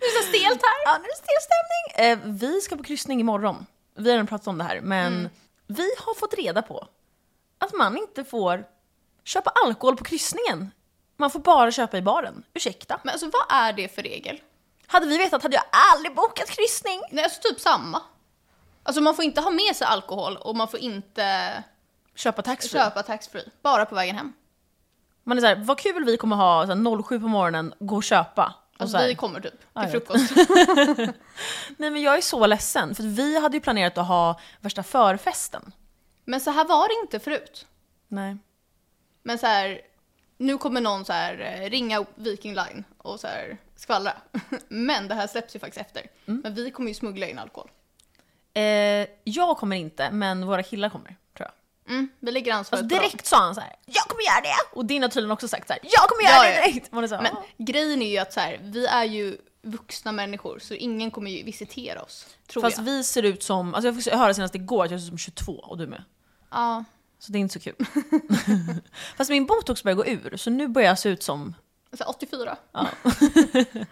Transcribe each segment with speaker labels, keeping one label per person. Speaker 1: Det är så stelt här.
Speaker 2: Ja, nu är det stel stämning. Eh, vi ska på kryssning imorgon. Vi har redan pratat om det här, men
Speaker 1: Mm.
Speaker 2: vi har fått reda på att man inte får köpa alkohol på kryssningen. Man får bara köpa i baren. Ursäkta.
Speaker 1: Men alltså vad är det för regel?
Speaker 2: Hade vi vetat hade jag aldrig bokat kryssning.
Speaker 1: Nej, alltså typ samma. Alltså man får inte ha med sig alkohol och man får inte
Speaker 2: Köpa taxfree.
Speaker 1: köpa taxfree. Bara på vägen hem.
Speaker 2: Man är såhär, vad kul vi kommer ha så här, 07 på morgonen, gå och köpa. Och
Speaker 1: Alltså
Speaker 2: så här,
Speaker 1: vi kommer typ
Speaker 2: Ja, jag
Speaker 1: till
Speaker 2: vet.
Speaker 1: frukost.
Speaker 2: Nej men jag är så ledsen, för att vi hade ju planerat att ha värsta förfesten.
Speaker 1: Men så här var det inte förut.
Speaker 2: Nej.
Speaker 1: Men så här, nu kommer någon så här eh, ringa upp Viking Line och så här skvallra. Men det här släpps ju faktiskt efter.
Speaker 2: Mm.
Speaker 1: Men vi kommer ju smuggla in alkohol.
Speaker 2: Eh, jag kommer inte, men våra killar kommer, tror jag.
Speaker 1: Mm, vi lägger ansvaret
Speaker 2: Alltså
Speaker 1: på dem.
Speaker 2: direkt sa han så här: jag kommer göra det! Och din har tydligen också sagt så här: jag kommer göra
Speaker 1: Ja, ja.
Speaker 2: det direkt! Man är så här,
Speaker 1: Men
Speaker 2: "Ah."
Speaker 1: grejen är ju att så här, vi är ju vuxna människor så ingen kommer ju visitera oss. Tror
Speaker 2: Fast
Speaker 1: jag.
Speaker 2: vi ser ut som, alltså jag fick höra senast igår att jag ser ut som 22 och du med.
Speaker 1: Ja.
Speaker 2: Så det är inte så kul. Fast min botox börjar gå ur, så nu börjar jag se ut som,
Speaker 1: Alltså 84.
Speaker 2: Ja.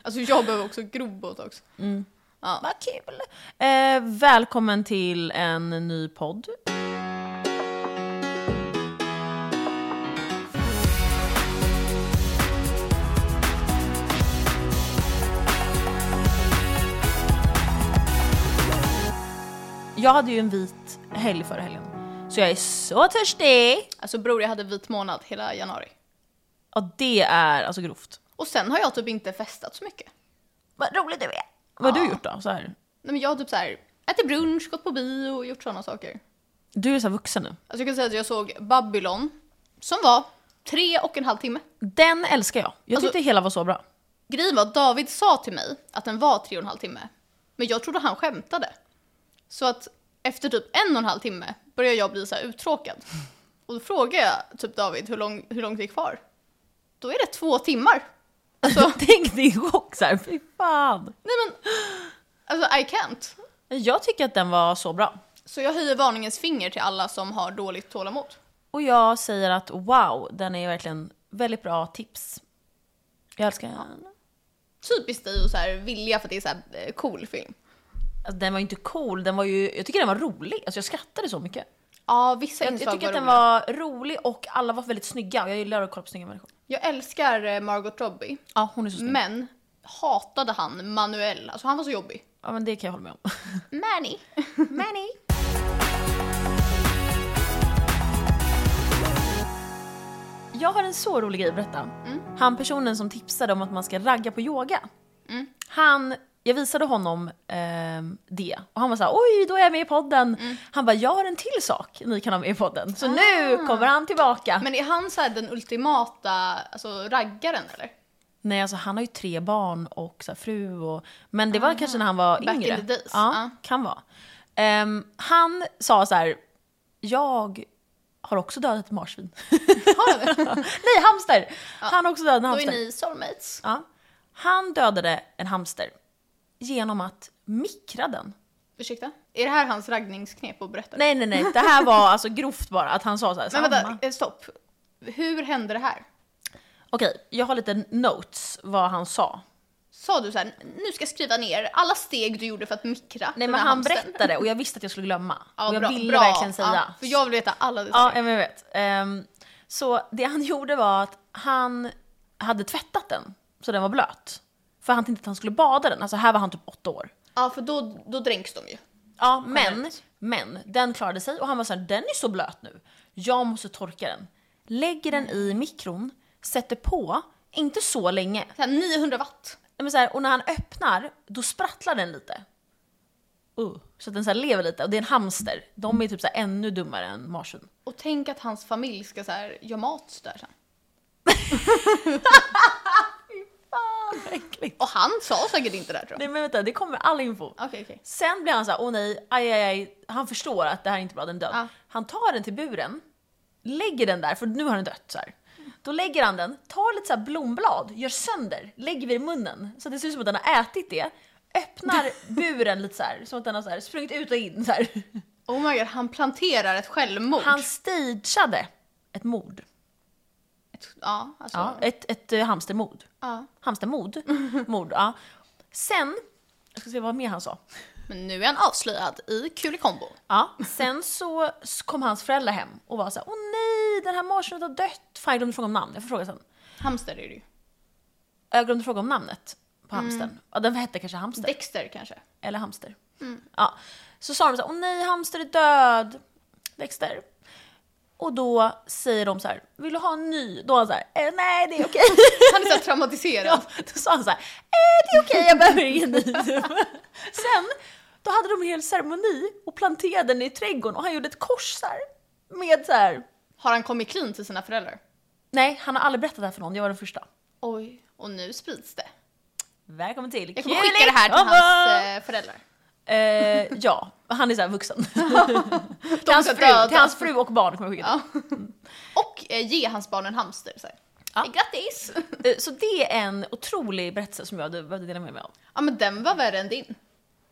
Speaker 1: alltså jag behöver också grov botox.
Speaker 2: vad kul! Eh, välkommen till en ny podd. Jag hade ju en vit helg förra helgen, så jag är så törstig!
Speaker 1: Alltså bror jag hade vit månad hela januari.
Speaker 2: Ja, det är alltså grovt.
Speaker 1: Och sen har jag typ inte festat så mycket.
Speaker 2: Vad rolig du är! Vad har du gjort då? Så här.
Speaker 1: Nej men jag har typ så här ätit brunch, gått på bio och gjort sådana saker.
Speaker 2: Du är så här vuxen nu.
Speaker 1: Alltså jag kan säga att jag såg Babylon som var tre och en halv timme.
Speaker 2: Den älskar jag. Jag
Speaker 1: Alltså-
Speaker 2: tyckte hela var så bra.
Speaker 1: Grejen var att David sa till mig att den var tre och en halv timme. Men jag trodde han skämtade. Så att efter typ en och en halv timme började jag bli så här uttråkad. Och då frågade jag typ David hur, lång, hur långt det är kvar. Då är det två timmar. Alltså,
Speaker 2: Tänk din chock såhär, fy fan.
Speaker 1: nej men, alltså I can't.
Speaker 2: Jag tycker att den var så bra.
Speaker 1: Så jag höjer varningens finger till alla som har dåligt tålamod.
Speaker 2: Och jag säger att wow, den är verkligen väldigt bra tips. Jag älskar den. Alltså,
Speaker 1: Typiskt dig att så här vilja för att det är så här eh, cool film.
Speaker 2: Alltså, den var ju inte cool, den var ju, jag tycker den var rolig. Alltså, jag skrattade så mycket.
Speaker 1: Ja, vissa
Speaker 2: Jag, jag
Speaker 1: inslag
Speaker 2: tycker att
Speaker 1: var
Speaker 2: den
Speaker 1: roliga.
Speaker 2: var rolig och alla var väldigt snygga. Och jag gillar att kolla på snygga människor.
Speaker 1: Jag älskar eh, Margot Robbie,
Speaker 2: Ja, hon är så snygg.
Speaker 1: men hatade han Manuel. Alltså han var så jobbig.
Speaker 2: Ja, men det kan jag hålla med om.
Speaker 1: Manny.
Speaker 2: Manny. Jag har en så rolig grej att berätta.
Speaker 1: Mm.
Speaker 2: Han personen som tipsade om att man ska ragga på yoga.
Speaker 1: Mm.
Speaker 2: Han, jag visade honom ehm, det och han var såhär oj då är jag med i podden.
Speaker 1: Mm.
Speaker 2: Han bara jag har en till sak ni kan ha med i podden. Så nu kommer han tillbaka.
Speaker 1: Ah. Men är han så här den ultimata alltså, raggaren eller?
Speaker 2: Nej alltså han har ju tre barn och så här, fru och... Men det var kanske när han var
Speaker 1: Ah. Back in
Speaker 2: yngre.
Speaker 1: the days, Ah.
Speaker 2: Ja,
Speaker 1: ja.
Speaker 2: kan vara. Ehm, han sa så här, jag har också dödat ett marsvin.
Speaker 1: Har han det?
Speaker 2: Nej, hamster! Han har också dödat en
Speaker 1: Då är
Speaker 2: hamster.
Speaker 1: ni soulmates.
Speaker 2: Ja. Han dödade en hamster genom att mikra den.
Speaker 1: Ursäkta? Är det här hans raggningsknep att berätta?
Speaker 2: Nej, nej, nej. Det här var alltså grovt bara. Att han sa så här,
Speaker 1: Men
Speaker 2: samma.
Speaker 1: vänta, eh, stopp. Hur hände det här?
Speaker 2: Okej, jag har lite notes vad han sa.
Speaker 1: Sa du så här, nu ska jag skriva ner alla steg du gjorde för att mikra
Speaker 2: Nej,
Speaker 1: den
Speaker 2: men
Speaker 1: här
Speaker 2: han
Speaker 1: hamstern."
Speaker 2: berättade och jag visste att jag skulle glömma.
Speaker 1: Ja,
Speaker 2: och jag
Speaker 1: bra,
Speaker 2: ville
Speaker 1: bra.
Speaker 2: verkligen säga.
Speaker 1: Ja, för jag vill veta alla detaljer.
Speaker 2: Ja, men jag vet. Ehm, så det han gjorde var att han hade tvättat den så den var blöt. För han tänkte att han skulle bada den. Alltså här var han typ åtta år.
Speaker 1: Ja, för då, då dränks de ju.
Speaker 2: Ja, men,
Speaker 1: Korrekt.
Speaker 2: men den klarade sig och han var såhär, den är så blöt nu. Jag måste torka den. Lägger den i mikron, sätter på, inte så länge.
Speaker 1: Så här, 900 watt.
Speaker 2: Men så här, och när han öppnar, då sprattlar den lite. Uh, så att den så här lever lite. Och det är en hamster. De är typ så här ännu dummare än marsvin.
Speaker 1: Och tänk att hans familj ska så här, göra mat så där sen. Och han sa säkert inte det här, tror jag.
Speaker 2: Nej men vänta, det kommer all info.
Speaker 1: Okej, okej.
Speaker 2: Sen blir han så här, åh nej, aj, aj, aj. Han förstår att det här är inte bra, den är död.
Speaker 1: Ja.
Speaker 2: Han tar den till buren, lägger den där, för nu har den dött. Så här. Då lägger han den, tar lite så här blomblad, gör sönder, lägger vid munnen så att det ser ut som att den har ätit det. Öppnar buren lite så här, som att den har så här, sprungit ut och in. Så här.
Speaker 1: Oh my god, han planterar ett självmord.
Speaker 2: Han stageade ett mord.
Speaker 1: Ett, ja, alltså.
Speaker 2: Ja,
Speaker 1: Ja.
Speaker 2: ett, ett eh, hamstermord. Hamstermord? Mord, ja. Sen, jag ska se vad mer han sa.
Speaker 1: Men nu är han avslöjad i Kulikombo.
Speaker 2: Ja, sen så s- kom hans föräldrar hem och var så här, åh nej, den här marsvinet har dött. Fan, jag glömde fråga om namn, jag får fråga sen.
Speaker 1: Hamster är det ju.
Speaker 2: Jag glömde fråga om namnet på hamstern. Ja, den hette kanske hamster.
Speaker 1: Dexter kanske.
Speaker 2: Eller hamster. Ja. Så sa de så här, åh nej, hamster är död. Dexter. Och då säger de så här, vill du ha en ny? Då var han så här, eh, nej det är okej.
Speaker 1: Han är så här traumatiserad.
Speaker 2: Då sa han så här, eh, det är okej, jag behöver ingen ny. Sen, då hade de en hel ceremoni och planterade den i trädgården och han gjorde ett kors så här, med så här,
Speaker 1: Har han kommit clean till sina föräldrar?
Speaker 2: nej han har aldrig berättat det här för någon, jag var den första.
Speaker 1: Oj, och nu sprids det.
Speaker 2: Välkommen till
Speaker 1: Jag kommer skicka det här till hans eh, föräldrar.
Speaker 2: Eh, ja, han är så här vuxen. till, hans
Speaker 1: ska
Speaker 2: fru,
Speaker 1: dödas.
Speaker 2: till hans fru och barn kommer jag skicka det.
Speaker 1: Ja. Och eh, ge hans barn en hamster. Så här.
Speaker 2: Ja.
Speaker 1: Eh, Grattis!
Speaker 2: Eh, Så det är en otrolig berättelse som jag behövde dela med mig av.
Speaker 1: Ja men den var värre än din.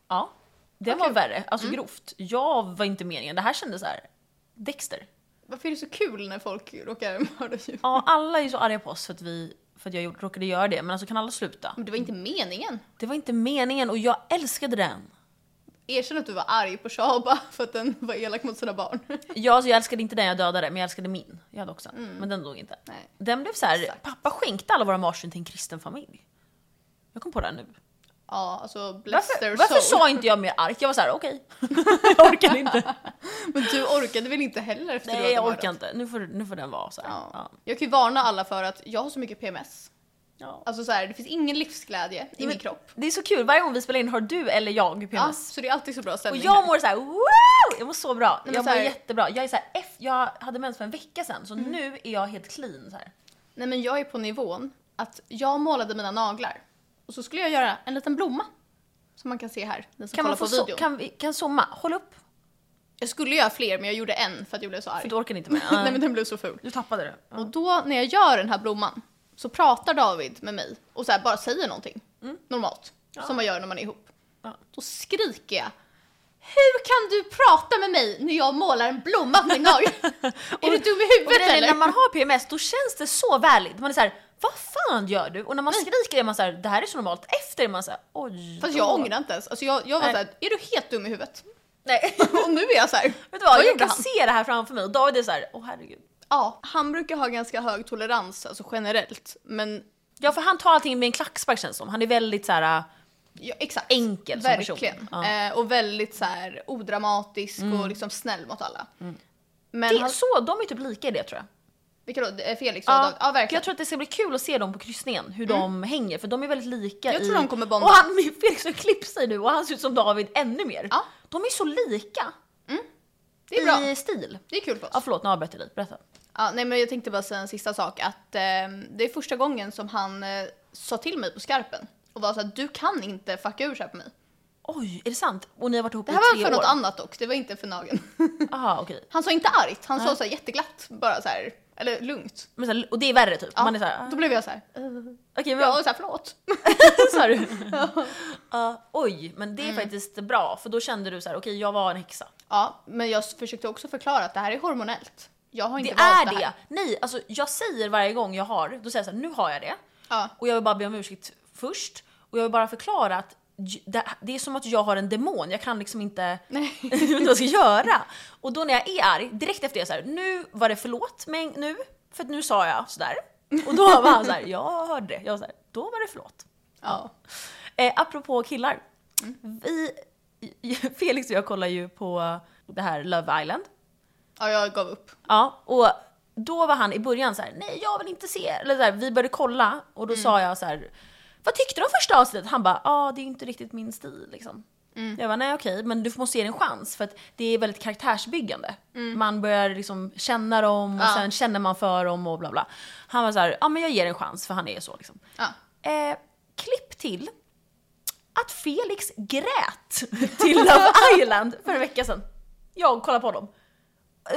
Speaker 2: Ja, det
Speaker 1: Vad
Speaker 2: var värre. Alltså grovt. Jag var inte meningen. Det här kändes så här. Dexter.
Speaker 1: Varför är det så kul när folk råkar mörda djur?
Speaker 2: Ja, alla är ju så arga på oss för att, vi, för att jag gjorde- råkade göra det. Men alltså kan alla sluta?
Speaker 1: Men det var inte meningen.
Speaker 2: Det var inte meningen och jag älskade den.
Speaker 1: Erkänn att du var arg på Shaba för att den var elak mot sina barn.
Speaker 2: Ja, alltså jag älskade inte den jag dödade, men jag älskade min. Jag hade också en, men den dog inte.
Speaker 1: Nej.
Speaker 2: Den blev så här,
Speaker 1: Exakt.
Speaker 2: pappa skänkte alla våra marsvin till en kristen familj. Jag kom på det här nu.
Speaker 1: Ja, alltså bless
Speaker 2: Varför,
Speaker 1: their
Speaker 2: varför
Speaker 1: soul.
Speaker 2: sa inte jag mer arg? Jag var så här, okej. jag orkade inte.
Speaker 1: Men du orkade väl inte heller efter du
Speaker 2: Nej,
Speaker 1: hade
Speaker 2: jag
Speaker 1: mördat?
Speaker 2: orkar inte. Nu får, nu får den vara så här.
Speaker 1: Ja.
Speaker 2: Ja.
Speaker 1: Jag kan ju varna alla för att jag har så mycket PMS.
Speaker 2: Ja.
Speaker 1: Alltså så här, det finns ingen livsglädje i min kropp.
Speaker 2: Det är så kul, varje gång vi spelar in har du eller jag
Speaker 1: Ja,
Speaker 2: PMS.
Speaker 1: så det är alltid så bra
Speaker 2: Och
Speaker 1: stämning.
Speaker 2: jag
Speaker 1: här.
Speaker 2: mår såhär wow! Jag mår så bra.
Speaker 1: men
Speaker 2: jag
Speaker 1: så
Speaker 2: mår
Speaker 1: här- Mm.
Speaker 2: jättebra. Jag, är så här, F, jag hade mens för en vecka sedan så nu är jag helt clean. Så här.
Speaker 1: Nej men jag är på nivån att jag målade mina naglar och så skulle jag göra en liten blomma. Som man kan se här, den som
Speaker 2: Kan,
Speaker 1: kan kollar
Speaker 2: man
Speaker 1: på
Speaker 2: få so-
Speaker 1: videon.
Speaker 2: kan, vi, kan zooma? Håll upp.
Speaker 1: Jag skulle göra fler men jag gjorde en för att jag blev så
Speaker 2: För
Speaker 1: arg.
Speaker 2: du orkar inte med.
Speaker 1: Nej men den blev så ful.
Speaker 2: Du tappade det. Ja.
Speaker 1: Och då när jag gör den här blomman så pratar David med mig och så här bara säger någonting. Normalt. Som man gör när man är ihop.
Speaker 2: Ja.
Speaker 1: Då skriker jag. Hur kan du prata med mig när jag målar en blomma på min nagel? är du dum i
Speaker 2: Och
Speaker 1: huvudet
Speaker 2: grejen är,
Speaker 1: eller?
Speaker 2: när man har PMS då känns det så värligt. Man är såhär, vad fan gör du? Och när man skriker är man såhär, det här är så normalt. Efter är man såhär, oj.
Speaker 1: Fast
Speaker 2: då."
Speaker 1: jag ångrar inte ens. Alltså jag, jag var
Speaker 2: Nej.
Speaker 1: såhär, är du helt dum i huvudet?
Speaker 2: Nej.
Speaker 1: och nu är jag såhär,
Speaker 2: Vet du vad, jag
Speaker 1: gjorde
Speaker 2: kan
Speaker 1: han?
Speaker 2: se det här framför mig och David är såhär, åh herregud.
Speaker 1: Ja, han brukar ha ganska hög tolerans, alltså generellt. Men
Speaker 2: Ja för han tar allting med en klackspark känns det som. Han är väldigt såhär,
Speaker 1: ja, exakt.
Speaker 2: enkel som person.
Speaker 1: Verkligen.
Speaker 2: Ja. Mm.
Speaker 1: Eh, och väldigt så här odramatisk och liksom snäll mot alla. Men
Speaker 2: Det,
Speaker 1: han,
Speaker 2: så, de är typ lika i det tror jag.
Speaker 1: vilka då? Eh, Felix och ja, ja verkligen. Mm.
Speaker 2: Jag tror att det ska bli kul att se dem på kryssningen, hur de hänger för de är väldigt lika
Speaker 1: Jag
Speaker 2: i...
Speaker 1: tror de kommer bonda.
Speaker 2: Och han, Felix har klippt sig nu och han ser ut som David ännu mer.
Speaker 1: Ja.
Speaker 2: De är så lika
Speaker 1: det är bra.
Speaker 2: i stil.
Speaker 1: Det är kul för oss.
Speaker 2: Ja förlåt, nu avbröt jag dig. Berätta.
Speaker 1: Ja, nej men jag tänkte bara säga en sista sak att eh, det är första gången som han eh, sa till mig på skarpen och var så att du kan inte fucka ur så här på mig.
Speaker 2: Oj, är det sant? Och ni har varit ihop
Speaker 1: Det
Speaker 2: i
Speaker 1: här var
Speaker 2: tre
Speaker 1: för
Speaker 2: år?
Speaker 1: något annat dock, det var inte för nageln.
Speaker 2: Aha, okej.
Speaker 1: Han sa inte argt, han sa så här jätteglatt bara så här, eller lugnt.
Speaker 2: Men så här, och det är värre typ?
Speaker 1: Ja,
Speaker 2: Man är såhär,
Speaker 1: Då blev jag så här,
Speaker 2: okej
Speaker 1: jag
Speaker 2: bra.
Speaker 1: var så här förlåt.
Speaker 2: Sa du? Ja, oj, men det
Speaker 1: Mm.
Speaker 2: är faktiskt bra för då kände du så här: okej jag var en häxa.
Speaker 1: Ja, men jag försökte också förklara att det här är hormonellt. Jag har
Speaker 2: Det
Speaker 1: inte
Speaker 2: är
Speaker 1: valt
Speaker 2: det!
Speaker 1: det. Här.
Speaker 2: Nej, alltså jag säger varje gång jag har, då säger jag såhär, nu har jag det.
Speaker 1: Ja.
Speaker 2: Och jag vill bara be om ursäkt först. Och jag vill bara förklara att j- det, det är som att jag har en demon, jag kan liksom inte
Speaker 1: Nej.
Speaker 2: jag vet inte vad jag ska göra. Och då när jag är arg, direkt efter det så här, nu var det förlåt men nu, för att nu sa jag sådär. Och då var han såhär, jag hörde det. Jag var såhär, då var det förlåt.
Speaker 1: Ja.
Speaker 2: Eh, apropå killar. Vi, Felix och jag kollar ju på det här Love Island.
Speaker 1: ja, jag gav upp.
Speaker 2: Ja, och då var han i början så här: nej jag vill inte se, eller så här, vi började kolla och då sa jag så här: vad tyckte du om första avsnittet? Han bara, ja ah, det är inte riktigt min stil liksom. Jag bara, nej okej, men du måste ge det en chans för att det är väldigt karaktärsbyggande. Man börjar liksom känna dem och
Speaker 1: Ja.
Speaker 2: sen känner man för dem och bla bla. Han var så här, ja ah, men jag ger det en chans för han är så liksom.
Speaker 1: Ja.
Speaker 2: Eh, klipp till att Felix grät till Love Island för en vecka sedan. Jag kollade på honom.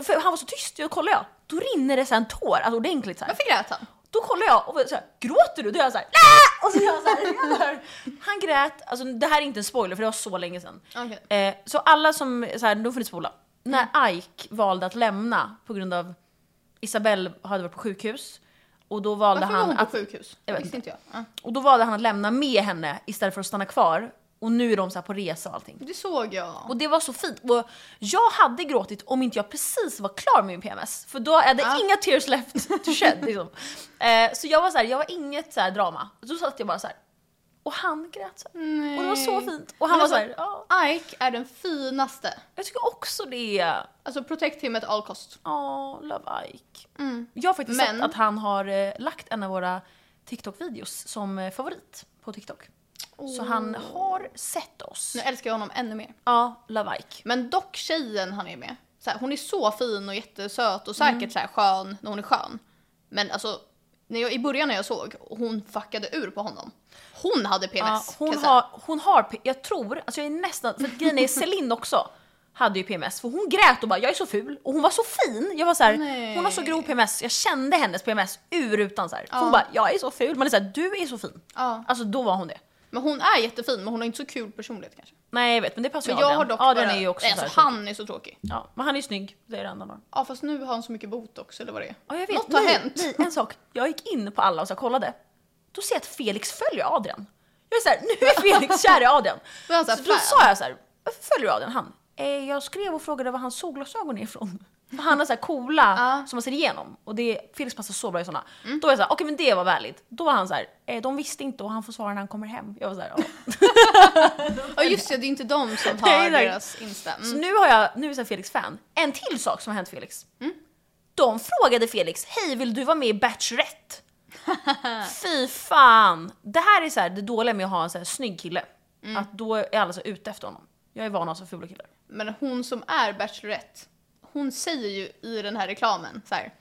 Speaker 2: För han var så tyst, jag kollade jag. Då rinner det sen tår, alltså ordentligt så här.
Speaker 1: Varför grät han?
Speaker 2: Då kollar jag och så här, gråter du? Då är jag såhär Nä! Och så är jag så här, jag hör. Han grät, alltså det här är inte en spoiler för det var så länge sedan.
Speaker 1: Okej.
Speaker 2: Eh, så alla som, så här, då får ni spola. När Ike valde att lämna på grund av Isabelle hade varit på sjukhus Och då valde
Speaker 1: Varför var
Speaker 2: han
Speaker 1: hon på
Speaker 2: att
Speaker 1: sjukhus?
Speaker 2: Jag
Speaker 1: Jag
Speaker 2: vet
Speaker 1: visste inte jag. Ja.
Speaker 2: Och då valde han att lämna med henne istället för att stanna kvar. Och nu är de så här på resa och allting.
Speaker 1: Det såg jag.
Speaker 2: Och det var så fint. Och jag hade gråtit om inte jag precis var klar med min PMS. För då hade
Speaker 1: Ja.
Speaker 2: inga tears left to shed. Liksom. Eh, så jag var så här, jag var inget så här drama. Så satt jag bara så här. Och han grät så här.
Speaker 1: Nej.
Speaker 2: Och det var så fint. Och han
Speaker 1: Men
Speaker 2: var så här,
Speaker 1: alltså-
Speaker 2: ja.
Speaker 1: Ike är den finaste.
Speaker 2: Jag tycker också det. är-
Speaker 1: Alltså protect him at all Mm. cost.
Speaker 2: Ja, love Ike. Jag har faktiskt
Speaker 1: Men-
Speaker 2: sett att han har eh, lagt en av våra TikTok-videos som eh, favorit på TikTok. Så han
Speaker 1: Oh.
Speaker 2: har sett oss.
Speaker 1: Nu älskar jag honom ännu mer.
Speaker 2: Ja, Love Ike.
Speaker 1: Men dock tjejen han är med. Så här, hon är så fin och jättesöt och säkert
Speaker 2: Mm.
Speaker 1: så här skön när hon är skön. Men alltså, när jag, i början när jag såg, hon fuckade ur på honom. Hon hade PMS
Speaker 2: Ja,
Speaker 1: kan
Speaker 2: hon,
Speaker 1: jag säga.
Speaker 2: har, hon har, P- jag tror, alltså jag är nästan, för att grejen är Celine också hade ju PMS för hon grät och bara jag är så ful och hon var så fin. Jag var så här,
Speaker 1: Nej.
Speaker 2: hon har så grov PMS, jag kände hennes PMS ur rutan så här. För
Speaker 1: Ja.
Speaker 2: Hon bara jag är så ful, man är så här, du är så fin.
Speaker 1: Ja.
Speaker 2: Alltså då var hon det.
Speaker 1: Men hon är jättefin men hon har inte så kul personlighet kanske.
Speaker 2: Nej jag vet men det passar
Speaker 1: Men
Speaker 2: ju
Speaker 1: jag
Speaker 2: Adrian.
Speaker 1: har dock
Speaker 2: Adrian
Speaker 1: bara,
Speaker 2: är ju också
Speaker 1: nej,
Speaker 2: så här,
Speaker 1: alltså, han är så tråkig.
Speaker 2: ja, Men han är ju snygg, det är det enda man.
Speaker 1: Ja fast nu har han så mycket botox eller vad det är.
Speaker 2: Ja, jag vet.
Speaker 1: Något har
Speaker 2: nej,
Speaker 1: hänt.
Speaker 2: Nej, en sak. Jag gick in på alla och så här, kollade. Då ser jag att Felix följer Adrian. Jag är såhär, nu är Felix kär i Adrian.
Speaker 1: Då är han så
Speaker 2: så
Speaker 1: här,
Speaker 2: då
Speaker 1: fan.
Speaker 2: sa jag så här, varför följer du Adrian han? Eh, jag skrev och frågade var hans solglasögon är ifrån. För han har så här coola
Speaker 1: Ja. Mm.
Speaker 2: som man ser igenom. Och det, Felix passar så bra i såna. Då var jag såhär, okej men det var värligt. Då var han såhär, eh, de visste inte och han får svara när han kommer hem. Jag var såhär, ja.
Speaker 1: Ja just det, det är inte de som
Speaker 2: Nej,
Speaker 1: har
Speaker 2: exakt.
Speaker 1: deras Insta. Mm.
Speaker 2: Så nu, har jag, nu är jag Felix-fan. En till sak som har hänt Felix. De frågade Felix, hej vill du vara med i Bachelorette? Fy fan! Det här är så här, det dåliga med att ha en så här snygg kille. Att då är alla så ute efter honom. Jag är van att ha så fula killar.
Speaker 1: Men hon som är Bachelorette, hon säger ju i den här reklamen så här.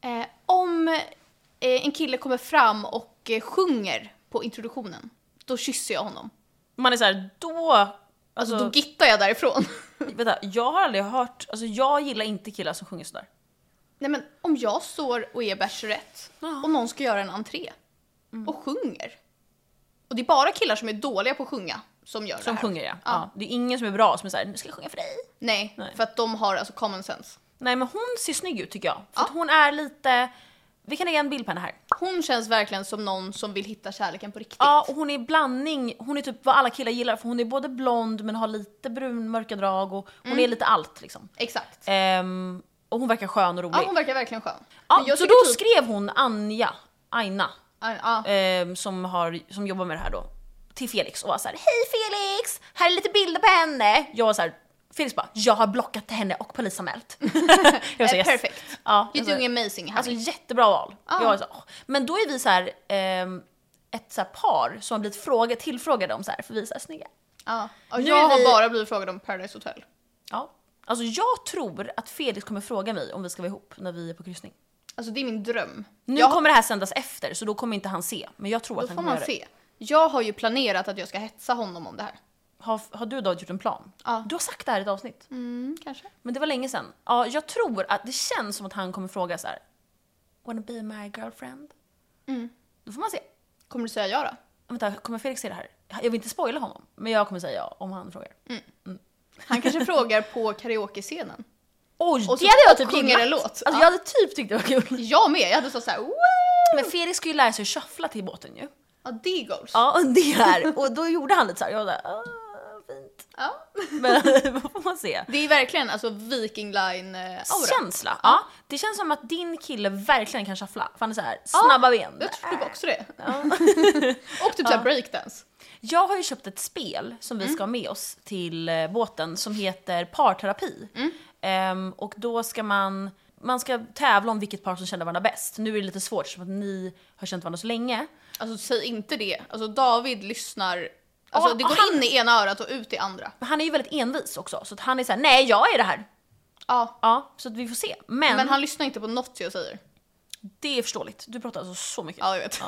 Speaker 1: Eh, om eh, en kille kommer fram och eh, sjunger på introduktionen, då kysser jag honom.
Speaker 2: Man är så här, då...
Speaker 1: Alltså,
Speaker 2: Alltså,
Speaker 1: då gittar jag därifrån.
Speaker 2: vänta, jag har aldrig hört... Alltså jag gillar inte killar som sjunger sådär.
Speaker 1: Nej men om jag står och är Bachelorette
Speaker 2: Ja.
Speaker 1: och någon ska göra en entré
Speaker 2: Mm.
Speaker 1: och sjunger. Och det är bara killar som är dåliga på att sjunga som gör
Speaker 2: Som
Speaker 1: det här.
Speaker 2: sjunger ja. ja. Det är ingen som är bra som är såhär, nu ska jag sjunga för dig.
Speaker 1: Nej,
Speaker 2: Nej.
Speaker 1: för att de har alltså common sense.
Speaker 2: Nej men hon ser snygg ut tycker jag. För att hon är lite... Vi kan lägga en bild på henne här.
Speaker 1: Hon känns verkligen som någon som vill hitta kärleken på riktigt.
Speaker 2: Ja, och hon är blandning. Hon är typ vad alla killar gillar för hon är både blond men har lite brunmörka drag och hon
Speaker 1: Mm.
Speaker 2: är lite allt liksom.
Speaker 1: Exakt.
Speaker 2: Ehm, och hon verkar skön och rolig.
Speaker 1: Ja, hon verkar verkligen skön.
Speaker 2: Ja,
Speaker 1: Men jag
Speaker 2: så
Speaker 1: tycker
Speaker 2: då
Speaker 1: typ-
Speaker 2: skrev hon Anja, Aina,
Speaker 1: Ja, ja.
Speaker 2: ehm, som, har, som jobbar med det här då, till Felix och var såhär Hej Felix! Här är lite bilder på henne! Jag var såhär, Felix bara jag har blockat henne och polisanmält. jag var så här,
Speaker 1: Eh, perfect.
Speaker 2: Ja, jag
Speaker 1: You're
Speaker 2: sa,
Speaker 1: doing amazing här.
Speaker 2: Alltså jättebra val.
Speaker 1: Ja.
Speaker 2: Jag var så, åh. men då är vi så här, ehm, ett så här par som har blivit fråga, tillfrågade om så här, för vi är så här snygga.
Speaker 1: ja. Och
Speaker 2: nu
Speaker 1: jag
Speaker 2: är
Speaker 1: har
Speaker 2: vi-
Speaker 1: bara blivit frågad om Paradise Hotel.
Speaker 2: Ja. Alltså jag tror att Felix kommer fråga mig om vi ska vara ihop när vi är på kryssning.
Speaker 1: Alltså det är min dröm.
Speaker 2: Nu
Speaker 1: jag,
Speaker 2: kommer det här sändas efter så då kommer inte han se. Men jag tror
Speaker 1: då
Speaker 2: att han
Speaker 1: får
Speaker 2: kommer
Speaker 1: man
Speaker 2: göra det.
Speaker 1: se. Jag har ju planerat att jag ska hetsa honom om det här.
Speaker 2: Har, har du då gjort en plan?
Speaker 1: Ja.
Speaker 2: Du har sagt det här i ett avsnitt.
Speaker 1: Mm, kanske.
Speaker 2: Men det var länge sedan. Ja, jag tror att det känns som att han kommer fråga så här. Wanna be my girlfriend?
Speaker 1: Mm.
Speaker 2: Då får man se.
Speaker 1: Kommer du säga ja då?
Speaker 2: Vänta, kommer Felix se det här? Jag vill inte spoila honom. Men jag kommer säga ja om han frågar.
Speaker 1: Han kanske frågar på karaoke-scenen.
Speaker 2: Oj,
Speaker 1: Och så-
Speaker 2: det hade jag
Speaker 1: och
Speaker 2: typ
Speaker 1: sjunger
Speaker 2: gillat.
Speaker 1: en låt.
Speaker 2: Alltså,
Speaker 1: Ja.
Speaker 2: Jag hade typ tyckt det var kul.
Speaker 1: Jag med, jag hade så såhär wow!
Speaker 2: Men Felix skulle ju lära sig shuffla till båten ju.
Speaker 1: Ja, det goals.
Speaker 2: Ja, och det här. Och då gjorde han lite så här. Jag var där, "Ah, fint.
Speaker 1: Ja.
Speaker 2: Men vad får man se?
Speaker 1: Det är verkligen alltså Viking eh, Line-aura.
Speaker 2: Känsla. Ja. Det känns som att din kille verkligen kan shuffla. För han är så här, snabba ben.
Speaker 1: Jag trodde också det.
Speaker 2: Ja.
Speaker 1: Och typ såhär breakdance.
Speaker 2: Jag har ju köpt ett spel som vi ska ha med oss till eh, båten som heter parterapi. Ehm, och då ska man, man ska tävla om vilket par som känner varandra bäst. Nu är det lite svårt eftersom att ni har känt varandra så länge.
Speaker 1: Alltså säg inte det. Alltså David lyssnar, alltså
Speaker 2: Ja,
Speaker 1: det går
Speaker 2: han-
Speaker 1: in i ena örat och ut i andra.
Speaker 2: Men han är ju väldigt envis också så att han är såhär, nej jag är det här.
Speaker 1: Ja,
Speaker 2: Ja, Mm. så att vi får se. Men,
Speaker 1: men han lyssnar inte på något jag säger.
Speaker 2: det är förståeligt, du pratar alltså så mycket.
Speaker 1: Ja, jag vet.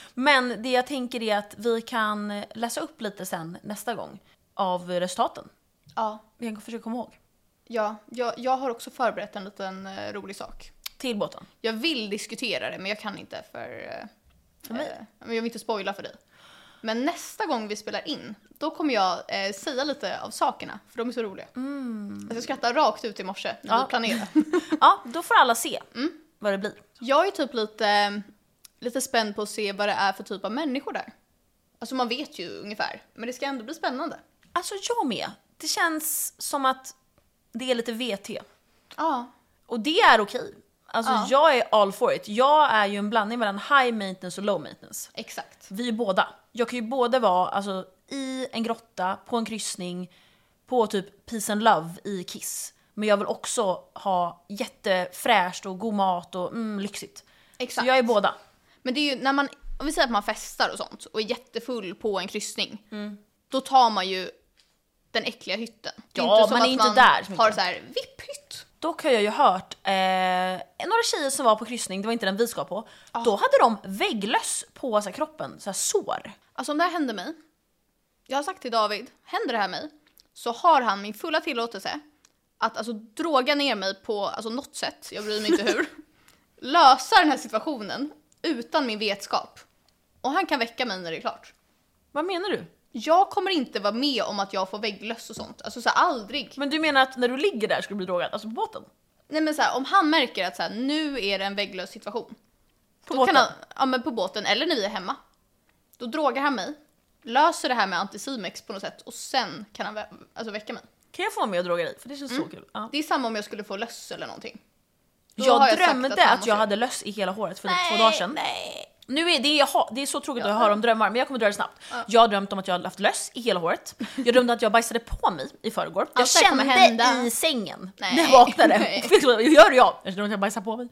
Speaker 2: Men det jag tänker är att vi kan läsa upp lite sen nästa gång av resultaten.
Speaker 1: Ja,
Speaker 2: Vi kan försöka komma ihåg.
Speaker 1: ja jag, jag har också förberett en liten eh, rolig sak.
Speaker 2: Till båten.
Speaker 1: Jag vill diskutera det, men jag kan inte för... eh,
Speaker 2: För mig?
Speaker 1: eh, men jag vill inte spoila för dig. Men nästa gång vi spelar in, då kommer jag eh, säga lite av sakerna, för de är så roliga. Alltså, jag skrattade rakt ut i morse när
Speaker 2: Mm. Ja.
Speaker 1: vi planerade. Mm.
Speaker 2: Ja, då får alla se. vad det blir.
Speaker 1: Jag är typ lite, lite spänd på att se vad det är för typ av människor där. Alltså man vet ju ungefär, men det ska ändå bli spännande.
Speaker 2: Alltså jag med. Det känns som att det är lite VT.
Speaker 1: Ja.
Speaker 2: Och det är okej. Alltså
Speaker 1: Ja.
Speaker 2: jag är all for it. Jag är ju en blandning mellan high maintenance och low maintenance.
Speaker 1: Exakt.
Speaker 2: Vi är båda. Jag kan ju både vara alltså, i en grotta, på en kryssning, på typ peace and love i Kiss. Men jag vill också ha jättefräscht och god mat och mm, lyxigt.
Speaker 1: Exakt.
Speaker 2: Så jag är båda.
Speaker 1: Men det är ju när man, om vi säger att man festar och sånt och är jättefull på en kryssning.
Speaker 2: Mm.
Speaker 1: Då tar man ju den äckliga hytten. Det är
Speaker 2: Ja,
Speaker 1: inte som
Speaker 2: man är
Speaker 1: att
Speaker 2: inte där så mycket.
Speaker 1: har så här vipphytt.
Speaker 2: Dock har jag ju hört eh, några tjejer som var på kryssning, det var inte den vi ska på. Då hade de vägglöss på så här, kroppen, så här, sår.
Speaker 1: Alltså om det här händer mig, jag har sagt till David, händer det här mig så har han min fulla tillåtelse att alltså droga ner mig på alltså, något sätt, jag bryr mig inte hur, lösa den här situationen utan min vetskap. Och han kan väcka mig när det är klart.
Speaker 2: Vad menar du?
Speaker 1: Jag kommer inte vara med om att jag får vägglöss och sånt. Alltså så här, aldrig.
Speaker 2: Men du menar att när du ligger där ska du bli drogad? Alltså på båten?
Speaker 1: Nej men så här, om han märker att så här, nu är det en vägglös situation.
Speaker 2: På
Speaker 1: då
Speaker 2: båten?
Speaker 1: Kan han, ja men på båten eller när vi är hemma. Då drogar han mig, löser det här med antisimex på något sätt och sen kan han vä- alltså, väcka mig.
Speaker 2: Kan jag få vara med och droga dig? För det känns
Speaker 1: Mm.
Speaker 2: så kul. Ja.
Speaker 1: Det är samma om jag skulle få löss eller någonting. Då har
Speaker 2: Jag
Speaker 1: sagt
Speaker 2: drömde
Speaker 1: han
Speaker 2: att,
Speaker 1: måste
Speaker 2: jag
Speaker 1: göra-
Speaker 2: hade löss i hela håret för
Speaker 1: Nej,
Speaker 2: typ två dagar sedan.
Speaker 1: Nej.
Speaker 2: Nu är det, jag har, det är så tråkigt att jag hör om drömmar, men jag kommer dra det snabbt. Jag har drömt om att jag hade haft löss i hela håret. Jag drömde att jag bajsade på mig i förrgår. Jag
Speaker 1: Allt det här kommer hända.
Speaker 2: kände i sängen
Speaker 1: Nej.
Speaker 2: när jag vaknade.
Speaker 1: Nej.
Speaker 2: Vet du vad jag gör? Jag Jag drömde att jag bajsade på mig.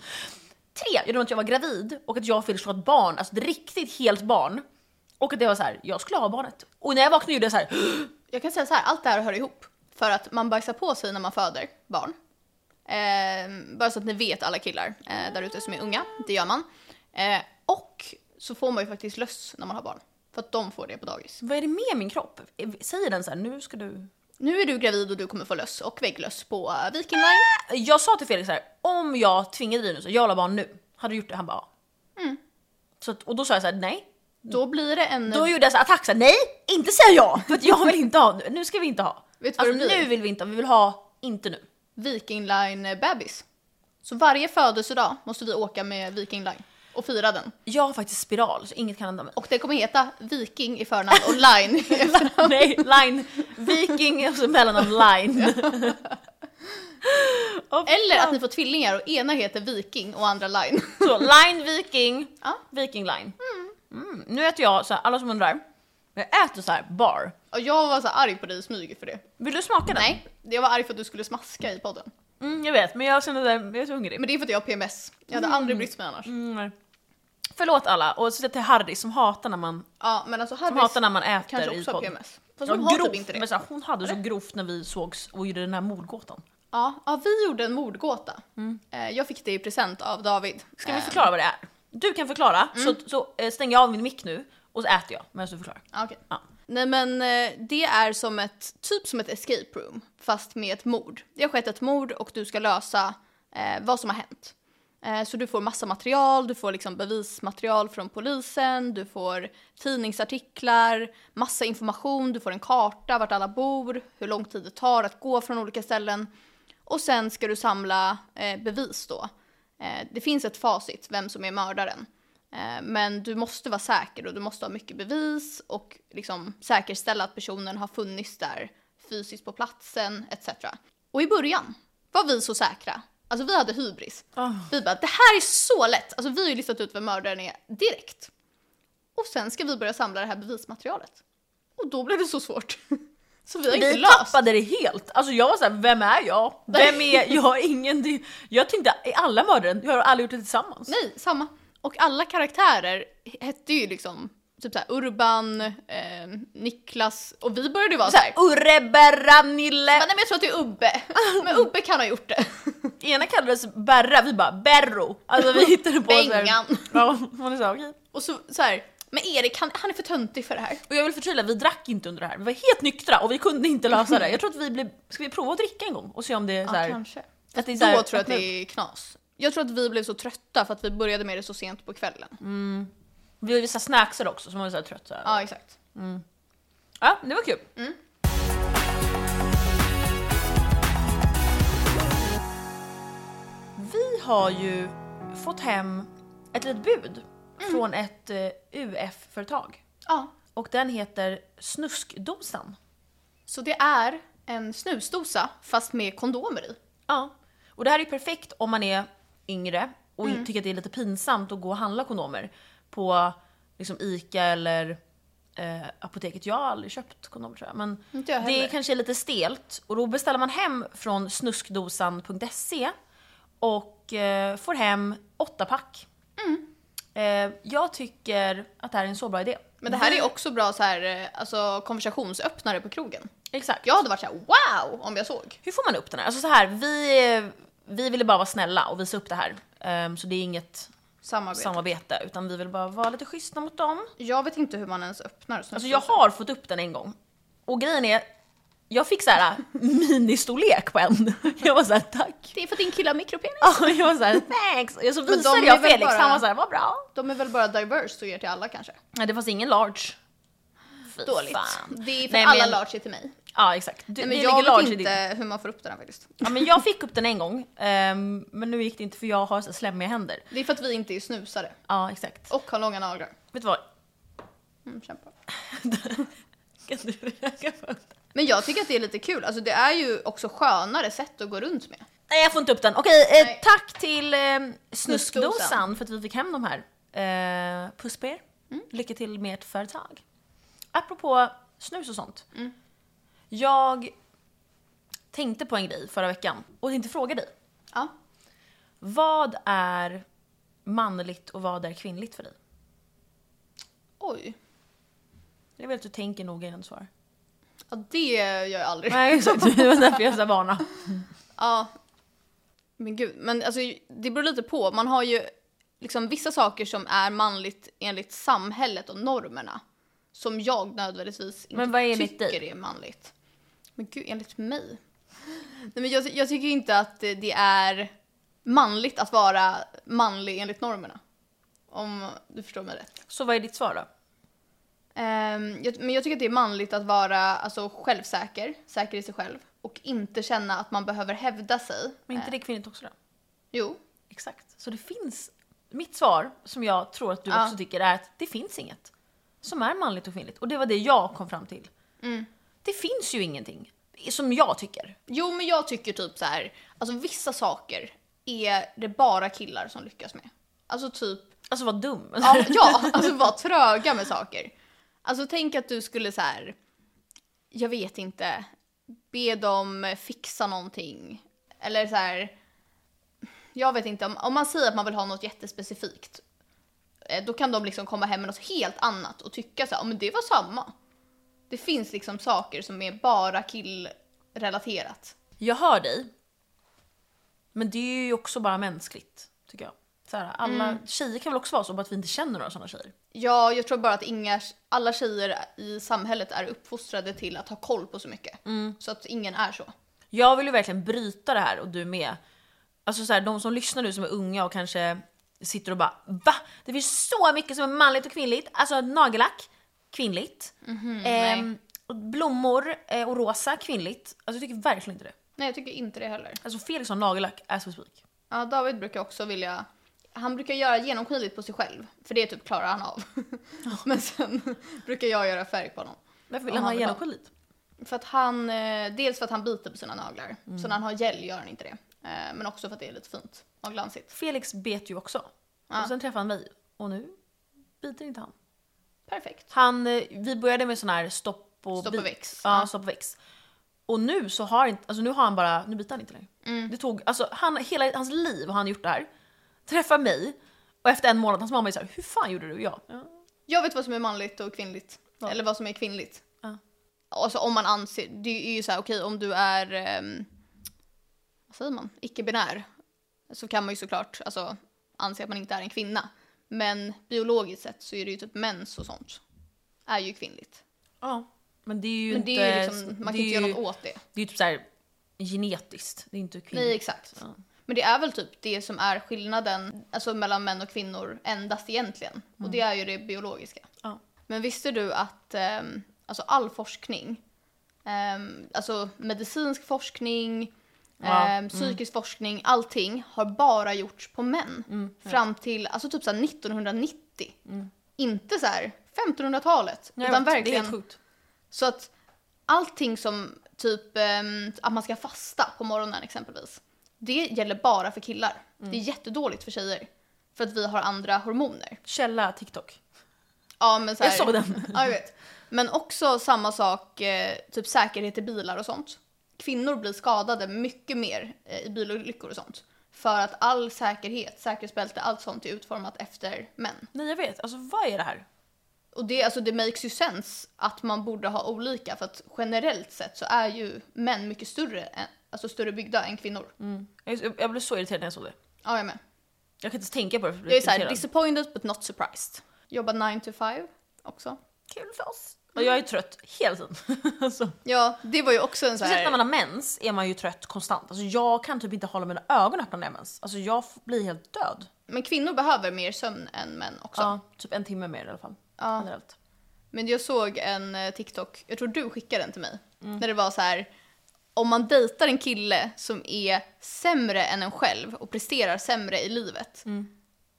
Speaker 2: Tre, jag drömde att jag var gravid och att jag fick slå ett barn, alltså ett riktigt helt barn. Och att det var så här, jag skulle ha barnet. Och när jag vaknade gjorde jag så här,
Speaker 1: Jag kan säga så här, allt det här hör ihop. För att man bajsar på sig när man föder barn. Eh, bara så att ni vet alla killar eh, där ute som är unga, det gör man. Eh, och så får man ju faktiskt löss när man har barn. För att de får det på dagis.
Speaker 2: vad är det med min kropp? Säger den så här, nu ska du...
Speaker 1: Nu är du gravid och du kommer få löss och vägglöss på eh, Viking Line.
Speaker 2: Jag sa till Felix så här, om jag tvingade dig nu, så jag vill ha barn nu, hade du gjort det? Han bara, ja.
Speaker 1: Mm.
Speaker 2: Så att, och då sa jag så här, nej,
Speaker 1: Då blir det en...
Speaker 2: Då gjorde jag så här attack såhär, nej! Inte säger jag! För att jag vill inte ha, nu ska vi inte ha.
Speaker 1: Vet du vad
Speaker 2: alltså
Speaker 1: det blir?
Speaker 2: nu vill vi inte ha, vi vill ha, inte nu.
Speaker 1: Viking Line-bebis. Så varje födelsedag måste vi åka med Viking Line och fira den.
Speaker 2: Jag har faktiskt spiral så inget kan hända mig.
Speaker 1: Och det kommer heta Viking i förnamn och Line i efternamn.
Speaker 2: nej, line, viking och så mellannamn line. Och
Speaker 1: Eller att
Speaker 2: fan,
Speaker 1: ni får tvillingar och ena heter Viking och andra Line.
Speaker 2: så, line viking,
Speaker 1: Ja.
Speaker 2: viking line. Mm. Nu äter jag, så här, alla som undrar, jag äter så här bar.
Speaker 1: Och jag var så arg på dig i smyg för det.
Speaker 2: Vill du smaka den?
Speaker 1: Nej, jag var arg för att du skulle smaska i podden.
Speaker 2: Mm, jag vet, men jag känner det, jag är så hungrig.
Speaker 1: Men det är för att jag har PMS. Jag hade aldrig brytt mig annars.
Speaker 2: Mm, nej. Förlåt alla, och så till Harry som hatar när man,
Speaker 1: Ja, men alltså
Speaker 2: som
Speaker 1: Harris
Speaker 2: hatar när man äter
Speaker 1: kanske
Speaker 2: i
Speaker 1: också har
Speaker 2: podd.
Speaker 1: PMS. Fast
Speaker 2: Ja,
Speaker 1: hon har
Speaker 2: grovt,
Speaker 1: typ inte
Speaker 2: Men
Speaker 1: det.
Speaker 2: så här, hon hade så grovt när vi sågs och gjorde den här mordgåtan.
Speaker 1: Ja, ja, vi gjorde en mordgåta. Eh, Jag fick det i present av David.
Speaker 2: Mm. Ska vi
Speaker 1: Eh,
Speaker 2: förklara vad det är? Äh. Du kan förklara,
Speaker 1: Mm.
Speaker 2: så, så eh, stänger jag av min mick nu och så äter jag medan du förklarar.
Speaker 1: Ja, okej.
Speaker 2: Ja.
Speaker 1: Nej men eh, det är som ett, typ som ett escape room fast med ett mord. Det har skett ett mord och du ska lösa eh, vad som har hänt. Eh, så du får massa material, du får liksom bevismaterial från polisen, du får tidningsartiklar, massa information, du får en karta vart alla bor, hur lång tid det tar att gå från olika ställen. Och sen ska du samla eh, bevis då. Eh, det finns ett facit, vem som är mördaren. Eh, Men du måste vara säker och du måste ha mycket bevis och liksom säkerställa att personen har funnits där fysiskt på platsen etc. Och i början var vi så säkra. Alltså vi hade hybris. Vi bara, det här är så lätt! Alltså vi har ju listat ut vem mördaren är direkt. Och sen ska vi börja samla det här bevismaterialet. Och då blev det så svårt. Så vi har inte
Speaker 2: Vi
Speaker 1: löst.
Speaker 2: tappade det helt. Alltså jag var såhär, vem är jag? Vem är jag? Ingen... det- Jag tänkte, är alla mördaren? Jag har alla gjort det tillsammans.
Speaker 1: Nej, samma. Och alla karaktärer hette ju liksom typ såhär Urban, eh, Niklas och vi började ju vara såhär.
Speaker 2: Såhär, Urre Berra Nille.
Speaker 1: Men nej, men jag tror att det är Ubbe. Men Ubbe kan ha gjort det.
Speaker 2: Ena kallades Berra, vi bara Berro. Alltså vi hittade på såhär-
Speaker 1: Bengan.
Speaker 2: Ja, man är så här, okej.
Speaker 1: Och så, så här, men Erik han, han är för töntig för det här.
Speaker 2: Och jag vill förtydliga, vi drack inte under det här. Vi var helt nyktra och vi kunde inte lösa det. Jag tror att vi blev... Ska vi prova att dricka en gång och se om det är så här...
Speaker 1: kanske.
Speaker 2: att det är så här-
Speaker 1: Då tror jag att det är knas. Jag tror att vi blev så trötta för att vi började med det så sent på kvällen.
Speaker 2: Mm. Vi gjorde vissa snacksar också som var så här trött. Så här.
Speaker 1: Ja, Mm. exakt.
Speaker 2: Ja, det var kul. Vi har ju fått hem ett litet bud
Speaker 1: Mm.
Speaker 2: från ett eh, UF-företag.
Speaker 1: Ja,
Speaker 2: Och den heter Snuskdosan.
Speaker 1: så det är en snusdosa fast med kondomer i.
Speaker 2: Ja. Och det här är ju perfekt om man är yngre och
Speaker 1: Mm.
Speaker 2: tycker att det är lite pinsamt att gå och handla kondomer på liksom ICA eller eh, apoteket. Jag har aldrig köpt kondomer tror jag. Men
Speaker 1: Inte jag
Speaker 2: det
Speaker 1: heller.
Speaker 2: kanske är lite stelt och då beställer man hem från snuskdosan.se och eh, får hem åtta pack.
Speaker 1: Mm.
Speaker 2: Eh, jag tycker att det här är en så bra idé.
Speaker 1: Men det här
Speaker 2: Mm.
Speaker 1: är också bra så här, eh, alltså, konversationsöppnare på krogen.
Speaker 2: Exakt.
Speaker 1: Jag hade varit så här, wow om jag såg.
Speaker 2: Hur får man upp den här? Alltså så här, vi, vi ville bara vara snälla och visa upp det här. Ehm, så det är inget
Speaker 1: Samarbete.
Speaker 2: samarbete, utan vi vill bara vara lite schyssta mot dem.
Speaker 1: Jag vet inte hur man ens öppnar snusdosa.
Speaker 2: Alltså jag har fått upp den en gång. Och grejen är, jag fick så här äh, ministorlek på en. Jag var så här, tack.
Speaker 1: Det är för att din kille har mikropenis.
Speaker 2: Ja, jag var så här, thanks. Och så
Speaker 1: de
Speaker 2: visade
Speaker 1: är
Speaker 2: jag
Speaker 1: väl
Speaker 2: Felix,
Speaker 1: bara-
Speaker 2: han var så här, vad bra.
Speaker 1: De är väl bara diverse och ger till alla kanske.
Speaker 2: Nej, det fanns ingen large. Fy
Speaker 1: Dåligt.
Speaker 2: fan.
Speaker 1: Det är för
Speaker 2: Nej,
Speaker 1: alla
Speaker 2: men-
Speaker 1: large är till mig.
Speaker 2: Ja exakt. Du, det
Speaker 1: Nej, men
Speaker 2: ligger
Speaker 1: jag
Speaker 2: large
Speaker 1: vet
Speaker 2: i din-
Speaker 1: inte hur man får upp den här faktiskt.
Speaker 2: Ja, men jag fick upp den en gång, ehm, men nu gick det inte för jag har så här slemmiga händer.
Speaker 1: Det är för att vi inte är snusare.
Speaker 2: Ja exakt.
Speaker 1: Och har långa naglar.
Speaker 2: Vet du vad?
Speaker 1: Mm, kämpa.
Speaker 2: Kan du röka först?
Speaker 1: Men jag tycker att det är lite kul. Alltså det är ju också skönare sätt att gå runt med.
Speaker 2: Nej jag får inte upp den. Okej, eh,
Speaker 1: Nej.
Speaker 2: tack till eh, Snuskdosan
Speaker 1: Snuskdosan. Mm.
Speaker 2: för att vi fick hem de här. Eh, puss på er. Lycka till med ert företag. Apropå snus och sånt.
Speaker 1: Mm.
Speaker 2: Jag tänkte på en grej förra veckan och tänkte fråga dig.
Speaker 1: Ja.
Speaker 2: Vad är manligt och vad är kvinnligt för dig?
Speaker 1: Oj.
Speaker 2: Jag vill att du tänker noga innan du svarar.
Speaker 1: Ja, det gör jag aldrig.
Speaker 2: Nej exakt, det var därför jag sa varna.
Speaker 1: Ja. Men gud, men alltså det beror lite på. Man har ju liksom vissa saker som är manligt enligt samhället och normerna. Som jag nödvändigtvis inte
Speaker 2: Men vad är enligt
Speaker 1: tycker är manligt. Men gud, enligt mig? Nej, men jag, jag tycker inte att det det är manligt att vara manlig enligt normerna. Om du förstår mig rätt.
Speaker 2: Så vad är ditt svar då?
Speaker 1: Ehm, jag, men jag tycker att det är manligt att vara alltså, självsäker, säker i sig själv. Och inte känna att man behöver hävda sig.
Speaker 2: Men inte det kvinnligt också då?
Speaker 1: Jo,
Speaker 2: Exakt. Så det finns, mitt svar som jag tror att du
Speaker 1: Ja.
Speaker 2: också tycker är att det finns inget som är manligt och kvinnligt. Och det var det jag kom fram till. Det finns ju ingenting som jag tycker.
Speaker 1: Jo, men jag tycker typ så här, alltså vissa saker är det bara killar som lyckas med. Alltså typ,
Speaker 2: Alltså vad dum.
Speaker 1: ja, ja alltså vara tröga med saker. Alltså tänk att du skulle så här, jag vet inte, be dem fixa någonting. Eller så här, jag vet inte, om, om man säger att man vill ha något jättespecifikt, eh, då kan de liksom komma hem med något helt annat och tycka så här, "Ja, men det var samma. Det finns liksom saker som är bara killrelaterat.
Speaker 2: Jag hör dig. Men det är ju också bara mänskligt, tycker jag. Så här, alla tjejer kan väl också vara så, bara att vi inte känner några sådana tjejer.
Speaker 1: Ja, jag tror bara att inga, alla tjejer i samhället är uppfostrade till att ha koll på så mycket.
Speaker 2: Mm.
Speaker 1: Så att ingen är så.
Speaker 2: Jag vill ju verkligen bryta det här och du med. Alltså så här, de som lyssnar nu som är unga och kanske sitter och bara VA? Det finns så mycket som är manligt och kvinnligt. Alltså nagellack, kvinnligt.
Speaker 1: Mhm,
Speaker 2: Ehm, och blommor eh, och rosa, kvinnligt. Alltså jag tycker verkligen inte det.
Speaker 1: Nej, jag tycker inte det heller.
Speaker 2: Alltså Felix har nagellack as we speak.
Speaker 1: Ja, David brukar också vilja... Han brukar göra genomskinligt på sig själv, för det typ klarar han av. Men sen brukar jag göra färg på honom.
Speaker 2: Varför vill
Speaker 1: Om
Speaker 2: han ha
Speaker 1: han vill ha.
Speaker 2: genomskinligt?
Speaker 1: För att han, eh, dels för att han biter på sina naglar,
Speaker 2: Mm.
Speaker 1: så när han har gel gör han inte det. Eh, Men också för att det är lite fint och glansigt.
Speaker 2: Felix bet ju också. Och sen träffade han mig och nu biter inte han.
Speaker 1: Perfekt.
Speaker 2: Han, eh, vi började med sån här stopp och,
Speaker 1: Stopp och
Speaker 2: bit.
Speaker 1: väx.
Speaker 2: Ja,
Speaker 1: Ja.
Speaker 2: stopp och väx. Och nu så har inte, alltså nu har han bara, nu biter han inte längre.
Speaker 1: Mm.
Speaker 2: Det tog, alltså han, hela hans liv har han gjort det här. Träffar mig och efter en månad, hans mamma är såhär, hur fan gjorde du? Ja.
Speaker 1: Jag vet vad som är manligt och kvinnligt. Eller vad som är kvinnligt.
Speaker 2: Ja.
Speaker 1: Alltså om man anser, det är ju så här, okej om du är, ehm, vad säger man, icke-binär. Så kan man ju såklart alltså, anse att man inte är en kvinna. Men biologiskt sett så är det ju typ mens och sånt. Är ju kvinnligt.
Speaker 2: ja. Men det är ju
Speaker 1: Men
Speaker 2: inte,
Speaker 1: det är ju liksom, man kan
Speaker 2: det är
Speaker 1: inte göra
Speaker 2: ju-
Speaker 1: något åt det.
Speaker 2: Det är ju typ såhär genetiskt, det är inte kvinnligt.
Speaker 1: Nej exakt.
Speaker 2: Ja.
Speaker 1: Men det är väl typ det som är skillnaden alltså, mellan män och kvinnor endast egentligen. Och det är ju det biologiska.
Speaker 2: Mm. Ja.
Speaker 1: Men visste du att ehm, alltså all forskning, ehm, alltså medicinsk forskning,
Speaker 2: Ja, Mm.
Speaker 1: ehm, psykisk forskning, allting har bara gjorts på män.
Speaker 2: Mm.
Speaker 1: Fram till alltså typ så här 1990. Inte så här 1500-talet.
Speaker 2: Nej,
Speaker 1: utan
Speaker 2: jag vet, Det är
Speaker 1: verkligen
Speaker 2: helt sjukt.
Speaker 1: så att allting som typ ehm, att man ska fasta på morgonen exempelvis. Det gäller bara för killar.
Speaker 2: Mm.
Speaker 1: Det är jättedåligt för tjejer. För att vi har andra hormoner.
Speaker 2: Källa TikTok.
Speaker 1: Ja, men så här,
Speaker 2: Jag såg den.
Speaker 1: Ja, jag vet. Men också samma sak, eh, typ säkerhet i bilar och sånt. Kvinnor blir skadade mycket mer eh, i bilolyckor och sånt. För att all säkerhet, säkerhetsbälte, allt sånt är utformat efter män.
Speaker 2: Nej jag vet, alltså vad är det här?
Speaker 1: Och det, alltså, det makes ju sense att man borde ha olika för att generellt sett så är ju män mycket större, än, alltså större byggda än kvinnor.
Speaker 2: Jag, jag, jag blev så irriterad när jag såg det.
Speaker 1: Ja, jag med.
Speaker 2: Jag kan inte ens tänka på det för jag
Speaker 1: Jag
Speaker 2: blir
Speaker 1: är såhär
Speaker 2: irriterad.
Speaker 1: disappointed but not surprised. Jobbar 9 to 5 också.
Speaker 2: Kul för oss. Och jag är trött hela tiden. alltså.
Speaker 1: Ja, det var ju också en så
Speaker 2: Speciellt när
Speaker 1: här...
Speaker 2: man har mens är man ju trött konstant. Alltså jag kan typ inte hålla mina ögon öppna när jag har mens. Alltså jag f- blir helt död.
Speaker 1: Men kvinnor behöver mer sömn än män också.
Speaker 2: Ja, typ en timme mer i alla fall.
Speaker 1: Ja.
Speaker 2: Generellt.
Speaker 1: Men jag såg en eh, TikTok, jag tror du skickade den till mig. När det var så här, om man dejtar en kille som är sämre än en själv och presterar sämre i livet.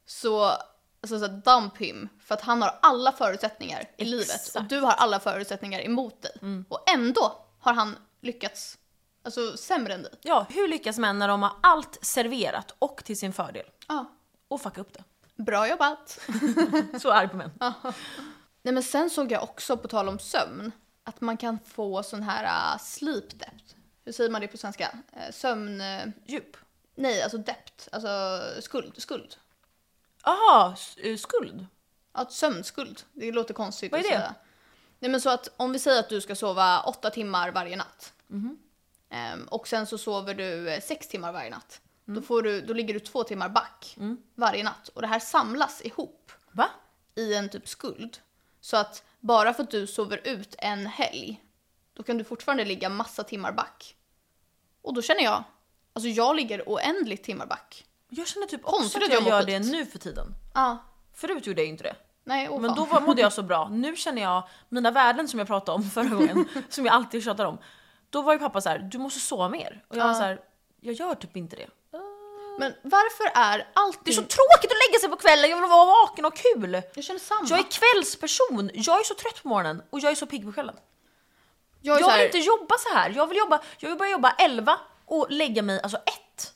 Speaker 1: Så, alltså så här, dump him, för att han har alla förutsättningar i livet. Och du har alla förutsättningar emot dig. Och ändå har han lyckats, alltså sämre än dig.
Speaker 2: Ja, hur lyckas män när de har allt serverat och till sin fördel?
Speaker 1: Ja,
Speaker 2: Och fucka upp det.
Speaker 1: bra jobbat.
Speaker 2: Så arg på män.
Speaker 1: Nej men sen såg jag också, på tal om sömn, att man kan få sån här uh, sleep debt. Hur säger man det på svenska? Eh, sömn... eh,
Speaker 2: Djup.
Speaker 1: Nej, alltså dept, alltså skuld. skuld.
Speaker 2: Jaha, s- eh, skuld.
Speaker 1: Att sömnskuld, det låter konstigt
Speaker 2: Vad är
Speaker 1: att
Speaker 2: det?
Speaker 1: säga. Nej men så att om vi säger att du ska sova åtta timmar varje natt.
Speaker 2: Mhm.
Speaker 1: Ehm, och sen så sover du eh, sex timmar varje natt.
Speaker 2: Mm.
Speaker 1: Då, får du, då ligger du två timmar back varje natt. Och det här samlas ihop
Speaker 2: Va?
Speaker 1: i en typ skuld. Så att bara för att du sover ut en helg, då kan du fortfarande ligga massa timmar back. Och då känner jag, alltså jag ligger oändligt timmar back.
Speaker 2: Jag känner typ
Speaker 1: Konstigt
Speaker 2: också att
Speaker 1: att
Speaker 2: jag
Speaker 1: jag mår
Speaker 2: gör det
Speaker 1: skit.
Speaker 2: nu för tiden.
Speaker 1: Ja,
Speaker 2: Förut gjorde jag inte det.
Speaker 1: nej åh
Speaker 2: Men
Speaker 1: fan.
Speaker 2: då var, mådde jag så bra. Nu känner jag, mina värden som jag pratade om förra gången, som jag alltid tjatar om. Då var ju pappa så här, du måste sova mer. Och jag var så här, jag gör typ inte det.
Speaker 1: Men varför är allting...
Speaker 2: Det är så tråkigt att lägga sig på kvällen, jag vill vara vaken och ha kul.
Speaker 1: Jag känner samma.
Speaker 2: Jag är kvällsperson, jag är så trött på morgonen och jag är så pigg på kvällen.
Speaker 1: Jag är så
Speaker 2: Jag
Speaker 1: här-
Speaker 2: vill inte jobba så här. Jag vill, jobba, jag vill börja jobba 11 och lägga mig alltså 1.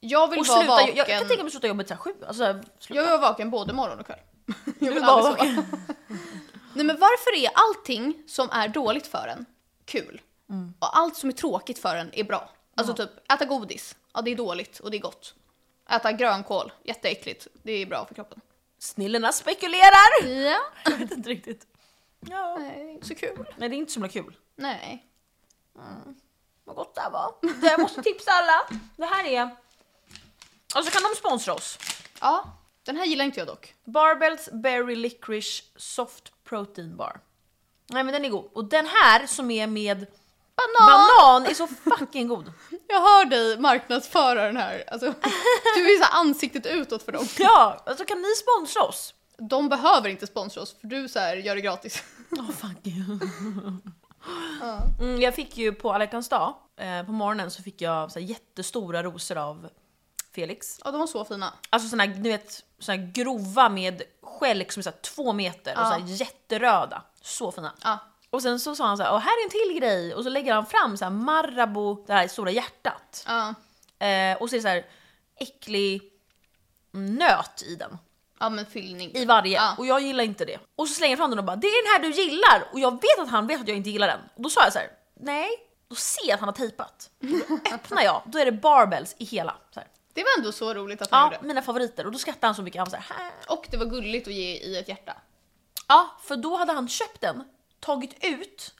Speaker 1: jag vill
Speaker 2: Och
Speaker 1: vara
Speaker 2: sluta,
Speaker 1: vaken.
Speaker 2: jag, jag kan tänka mig att sluta jobbet så här 7. Alltså, så här, sluta.
Speaker 1: Jag vill vara vaken både morgon och kväll. Jag
Speaker 2: vill
Speaker 1: vill
Speaker 2: bara
Speaker 1: aldrig sova. Nej men varför är allting som är dåligt för en kul?
Speaker 2: Mm.
Speaker 1: Och allt som är tråkigt för en är bra. Alltså typ äta godis, ja det är dåligt och det är gott. Äta grönkål, jätteäckligt, det är bra för kroppen.
Speaker 2: Snillena spekulerar!
Speaker 1: Ja.
Speaker 2: Jag vet inte riktigt. Ja.
Speaker 1: Nej, inte så kul.
Speaker 2: Nej det är inte så himla kul.
Speaker 1: Nej.
Speaker 2: Mm. Vad gott det här var. Det här måste tipsa alla. Det här är... Alltså kan de sponsra oss?
Speaker 1: Ja, den här gillar inte jag dock.
Speaker 2: Barbells Berry Licorice Soft Protein Bar. Nej men den är god. Och den här som är med
Speaker 1: Banan!
Speaker 2: banan är så fucking god.
Speaker 1: Jag hör dig marknadsföra den här. Alltså, du är så här ansiktet utåt för dem.
Speaker 2: Ja, alltså kan ni sponsra oss?
Speaker 1: De behöver inte sponsra oss för du så här gör det gratis.
Speaker 2: Åh fuck you. Mm, jag fick ju på alla hjärtans dag, eh, på morgonen så fick jag så här jättestora rosor av Felix.
Speaker 1: Ja, de var så fina.
Speaker 2: Alltså såna, här, ni vet, såna här grova med skälk som är så här två meter och så här jätteröda. Så fina.
Speaker 1: Ja.
Speaker 2: Och sen så sa han så här, "Åh, här är en till grej och så lägger han fram så här Marabou, det här stora hjärtat.
Speaker 1: Ja.
Speaker 2: Eh, och så är det så här äcklig nöt i den.
Speaker 1: ja, men fyllning.
Speaker 2: I varje.
Speaker 1: Ja.
Speaker 2: Och jag gillar inte det. Och så slänger jag fram den och bara “det är den här du gillar” och jag vet att han vet att jag inte gillar den. Och då sa jag så här: “nej”. Då ser jag att han har tejpat. Och Då öppnar jag, då är det barbells i hela. Så här.
Speaker 1: Det var ändå så roligt att han
Speaker 2: Ja,
Speaker 1: gjorde.
Speaker 2: mina favoriter. Och då skrattade han så mycket. Han var så här, "Hä?"
Speaker 1: Och det var gulligt att ge i ett hjärta.
Speaker 2: Ja, för då hade han köpt den, tagit ut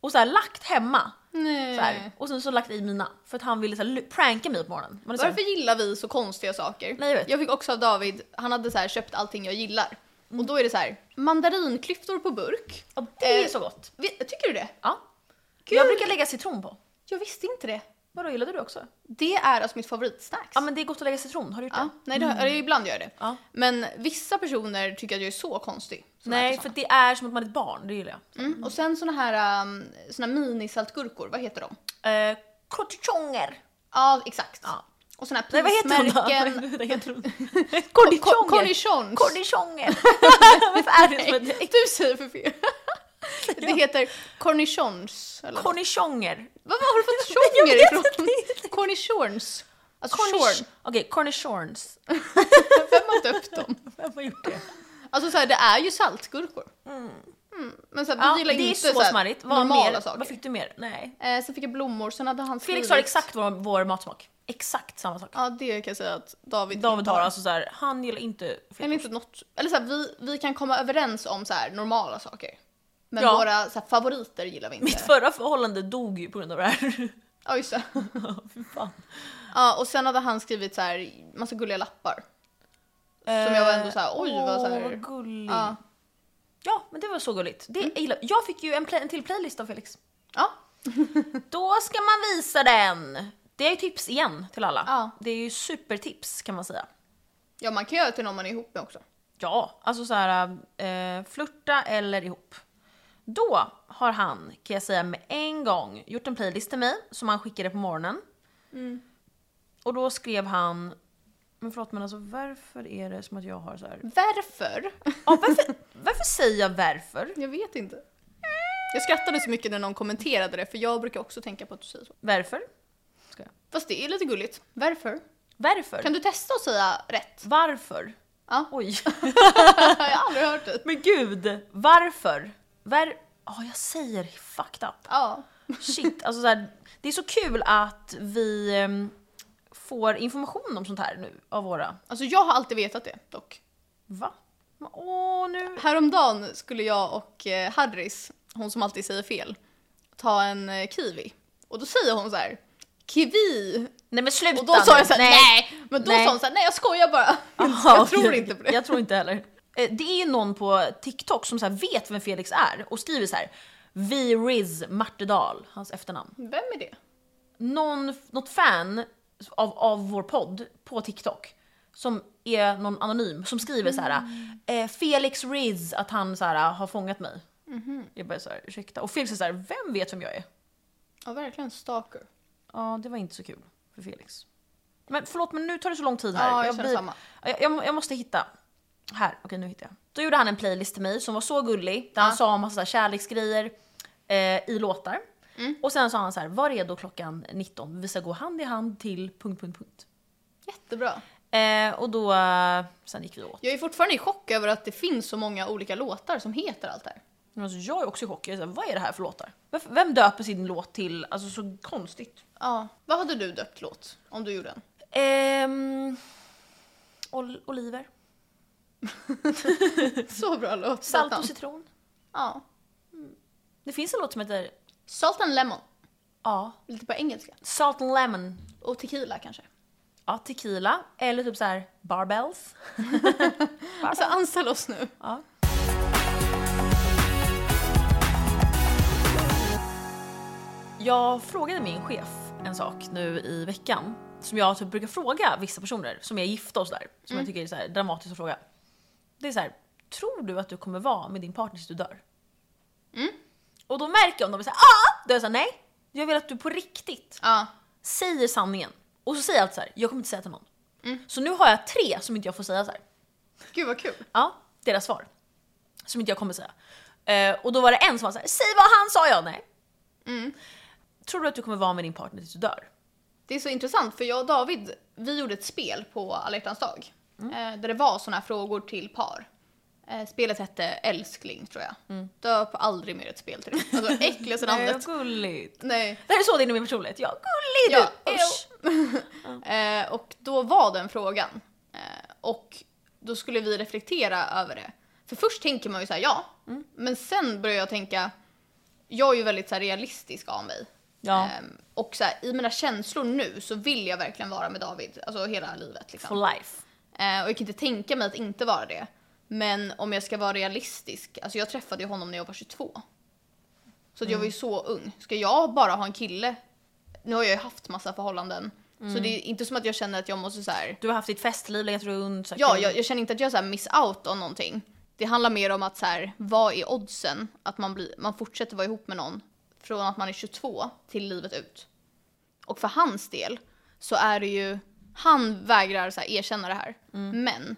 Speaker 2: och så här, lagt hemma.
Speaker 1: Nej.
Speaker 2: Så här, och sen så lagt i mina. För att han ville så här, lu- pranka mig på morgonen. Man är så här,
Speaker 1: Varför gillar vi så konstiga saker?
Speaker 2: Nej, jag vet.
Speaker 1: fick också av David, han hade så här köpt allting jag gillar.
Speaker 2: Mm.
Speaker 1: Och då är det så här, mandarinklyftor på burk.
Speaker 2: ja, det är
Speaker 1: Eh,
Speaker 2: så gott.
Speaker 1: Vi- Tycker du det?
Speaker 2: Ja.
Speaker 1: Kul.
Speaker 2: Jag brukar lägga citron på.
Speaker 1: Jag visste inte det.
Speaker 2: Vadå, gillade du det också?
Speaker 1: Det är alltså mitt favoritsnacks.
Speaker 2: Ja men Mm. det är gott att lägga citron, har du gjort
Speaker 1: Ja,
Speaker 2: det?
Speaker 1: nej, det, eller ibland gör jag det.
Speaker 2: Ja.
Speaker 1: Men vissa personer tycker att jag är så typ konstig. som
Speaker 2: Nej,
Speaker 1: äter
Speaker 2: för
Speaker 1: såna.
Speaker 2: det är som att man är ett barn, det gillar jag.
Speaker 1: Mm. Och sen såna här um, såna minisaltgurkor, vad heter de?
Speaker 2: Eh, kortichonger.
Speaker 1: Ja, exakt.
Speaker 2: Ja.
Speaker 1: Och sådana
Speaker 2: Nej
Speaker 1: här
Speaker 2: vad heter
Speaker 1: prismärken.
Speaker 2: hon då? Vad heter hon?
Speaker 1: Ko-
Speaker 2: Kortichonger.
Speaker 1: Cornichons.
Speaker 2: Kornichonger. Varför är det som
Speaker 1: Nej,
Speaker 2: ett
Speaker 1: du säger för fel. Det heter cornichons. Eller? något.
Speaker 2: Kornichonger.
Speaker 1: Vad vad har du fått
Speaker 2: Jag
Speaker 1: tjonger
Speaker 2: vet
Speaker 1: ifrån? Cornichons. Alltså
Speaker 2: Cornish-
Speaker 1: shorn.
Speaker 2: Okej, cornichons.
Speaker 1: Vem har döpt dem?
Speaker 2: Vem har gjort det?
Speaker 1: Alltså så här, det är ju saltgurkor. Mm, Men så här, vi
Speaker 2: Ja,
Speaker 1: gillar
Speaker 2: det är
Speaker 1: inte
Speaker 2: så
Speaker 1: här
Speaker 2: smarrigt. Vad,
Speaker 1: normala
Speaker 2: mer?
Speaker 1: saker.
Speaker 2: vad fick du mer? Nej.
Speaker 1: Eh, sen fick jag blommor, sen hade han
Speaker 2: Felix
Speaker 1: skrivit-
Speaker 2: har exakt vår, vår matsmak. Exakt samma sak.
Speaker 1: Ja det kan jag säga att David
Speaker 2: David
Speaker 1: inte
Speaker 2: har alltså såhär, han gillar inte
Speaker 1: Eller inte något, eller så här, vi, vi kan komma överens om så här, normala saker. Men
Speaker 2: Ja.
Speaker 1: våra så här, favoriter gillar vi inte.
Speaker 2: Mitt förra förhållande dog ju på grund av det här.
Speaker 1: Ja just det.
Speaker 2: Fy fan.
Speaker 1: Ja, och sen hade han skrivit så här massa gulliga lappar. Som jag var ändå såhär, oj, vad såhär-
Speaker 2: Eh, Åh, vad gullig.
Speaker 1: Ja.
Speaker 2: Ja, men det var så gulligt. Det,
Speaker 1: Mm.
Speaker 2: jag, gillar, jag fick ju en, play, en till playlist av Felix.
Speaker 1: Ja.
Speaker 2: Då ska man visa den! Det är ju tips igen till alla.
Speaker 1: Ja.
Speaker 2: Det är ju supertips kan man säga.
Speaker 1: ja, man kan göra det till någon man är ihop med också.
Speaker 2: Ja, alltså så här, eh, flörta eller ihop. Då har han, kan jag säga med en gång, gjort en playlist till mig som han skickade på morgonen.
Speaker 1: Mm.
Speaker 2: Och då skrev han, men förlåt men alltså varför är det som att jag har så här?
Speaker 1: Varför?
Speaker 2: Ja, varför, varför säger jag varför?
Speaker 1: Jag vet inte. Jag skrattade så mycket när någon kommenterade det för jag brukar också tänka på att du säger så.
Speaker 2: Varför? Ska jag?
Speaker 1: Fast det är lite gulligt. Varför?
Speaker 2: Varför?
Speaker 1: Kan du testa att säga rätt?
Speaker 2: Varför?
Speaker 1: Ja.
Speaker 2: Oj.
Speaker 1: Jag har aldrig hört det.
Speaker 2: Men gud, varför? Var... Ja, jag säger fucked up.
Speaker 1: Ja.
Speaker 2: Shit, alltså så här, det är så kul att vi ehm, får information om sånt här nu av våra...
Speaker 1: Alltså jag har alltid vetat det dock.
Speaker 2: Va? Men Åh, nu...
Speaker 1: Häromdagen skulle jag och eh, Harris, hon som alltid säger fel, ta en eh, kiwi. Och då säger hon så här, kiwi!
Speaker 2: Nej men sluta
Speaker 1: Och då sa
Speaker 2: nu.
Speaker 1: jag så här, nej! Men då
Speaker 2: Nej.
Speaker 1: sa hon så här, nej jag skojar bara.
Speaker 2: Jaha,
Speaker 1: jag tror
Speaker 2: okej.
Speaker 1: inte på det.
Speaker 2: Jag tror inte heller. Eh, Det är ju någon på TikTok som så här vet vem Felix är och skriver så här. Vi Riz Martedal, hans efternamn.
Speaker 1: Vem är det?
Speaker 2: någon, något fan av, av vår podd på TikTok som är någon anonym som skriver så här
Speaker 1: Mm.
Speaker 2: eh, Felix Riz att han så här, har fångat mig.
Speaker 1: Mhm.
Speaker 2: Jag bara så här, ursäkta. Och Felix är så här, vem vet vem jag är?
Speaker 1: Ja verkligen stalker.
Speaker 2: Ja, det var inte så kul för Felix. Men förlåt, men nu tar det så lång tid här.
Speaker 1: Ja, jag känner samma.
Speaker 2: Jag, jag, jag måste hitta. Här, okej nu hittar jag. Då gjorde han en playlist till mig som var så gullig, där han sa en massa så här kärleksgrejer eh, i låtar. Och sen sa han så här, var redo klockan 19, vi ska gå hand i hand till... Punkt, punkt, punkt.
Speaker 1: Jättebra.
Speaker 2: Eh, och då, eh, sen gick vi åt.
Speaker 1: Jag är fortfarande i chock över att det finns så många olika låtar som heter allt det här.
Speaker 2: Men Alltså, jag är också i chock, jag är så här, vad är det här för låtar? Varför, vem döper sin låt till, alltså så konstigt.
Speaker 1: Ja. Vad hade du döpt låt om du gjorde en?
Speaker 2: Ehm, ol- oliver,
Speaker 1: Så bra låt.
Speaker 2: salt och citron.
Speaker 1: ja.
Speaker 2: Det finns en låt som heter
Speaker 1: Salt and lemon.
Speaker 2: ja,
Speaker 1: Lite på engelska.
Speaker 2: Salt and Lemon.
Speaker 1: Och tequila kanske.
Speaker 2: Ja, tequila. Eller typ så här barbells.
Speaker 1: Alltså anställ oss nu.
Speaker 2: Ja. Jag frågade min chef en sak nu i veckan som jag typ brukar fråga vissa personer som är gifta och sådär. Som jag tycker är så här dramatiskt att fråga. Det är så här, tror du att du kommer vara med din partner tills du dör? Och då märker jag om de är såhär ah! Då är jag såhär nej, jag vill att du på riktigt
Speaker 1: Ja.
Speaker 2: säger sanningen. Och så säger jag alltid så här, jag kommer inte säga till någon. Så nu har jag tre som inte jag får säga så här.
Speaker 1: Gud vad kul.
Speaker 2: Ja, deras svar. Som inte jag kommer säga. Eh, och då var det en som var så här, säg vad han sa jag, nej.
Speaker 1: Mm.
Speaker 2: Tror du att du kommer vara med din partner tills du dör?
Speaker 1: Det är så intressant för jag och David, vi gjorde ett spel på alla hjärtans dag. Eh, där det var såna här frågor till par. Eh, spelet hette Älskling tror jag. Döp aldrig mer ett spel till det. Alltså äckligaste namnet.
Speaker 2: gulligt.
Speaker 1: Nej.
Speaker 2: Det här är så det är inom min personlighet. Ja, gullig
Speaker 1: Ja,
Speaker 2: du! Usch.
Speaker 1: Eh, och då var den frågan. Eh, och då skulle vi reflektera över det. För först tänker man ju så här, ja.
Speaker 2: Mm.
Speaker 1: Men sen börjar jag tänka, jag är ju väldigt så här, realistisk av mig.
Speaker 2: Ja.
Speaker 1: Ehm, och så här, i mina känslor nu så vill jag verkligen vara med David, alltså hela livet. Liksom.
Speaker 2: For life.
Speaker 1: Eh, och jag kan inte tänka mig att inte vara det. Men om jag ska vara realistisk, alltså jag träffade ju honom när jag var 22. Så att jag var ju så ung. Ska jag bara ha en kille? Nu har jag ju haft massa förhållanden. Så det är inte som att jag känner att jag måste så här.
Speaker 2: Du har haft ditt festliv, legat runt, sökt
Speaker 1: Ja,
Speaker 2: runt.
Speaker 1: jag, jag känner inte att jag så här miss out om någonting. Det handlar mer om att så här, vad är oddsen att man, blir, man fortsätter vara ihop med någon från att man är 22 till livet ut? Och för hans del så är det ju, han vägrar så här, erkänna det här.
Speaker 2: Mm.
Speaker 1: Men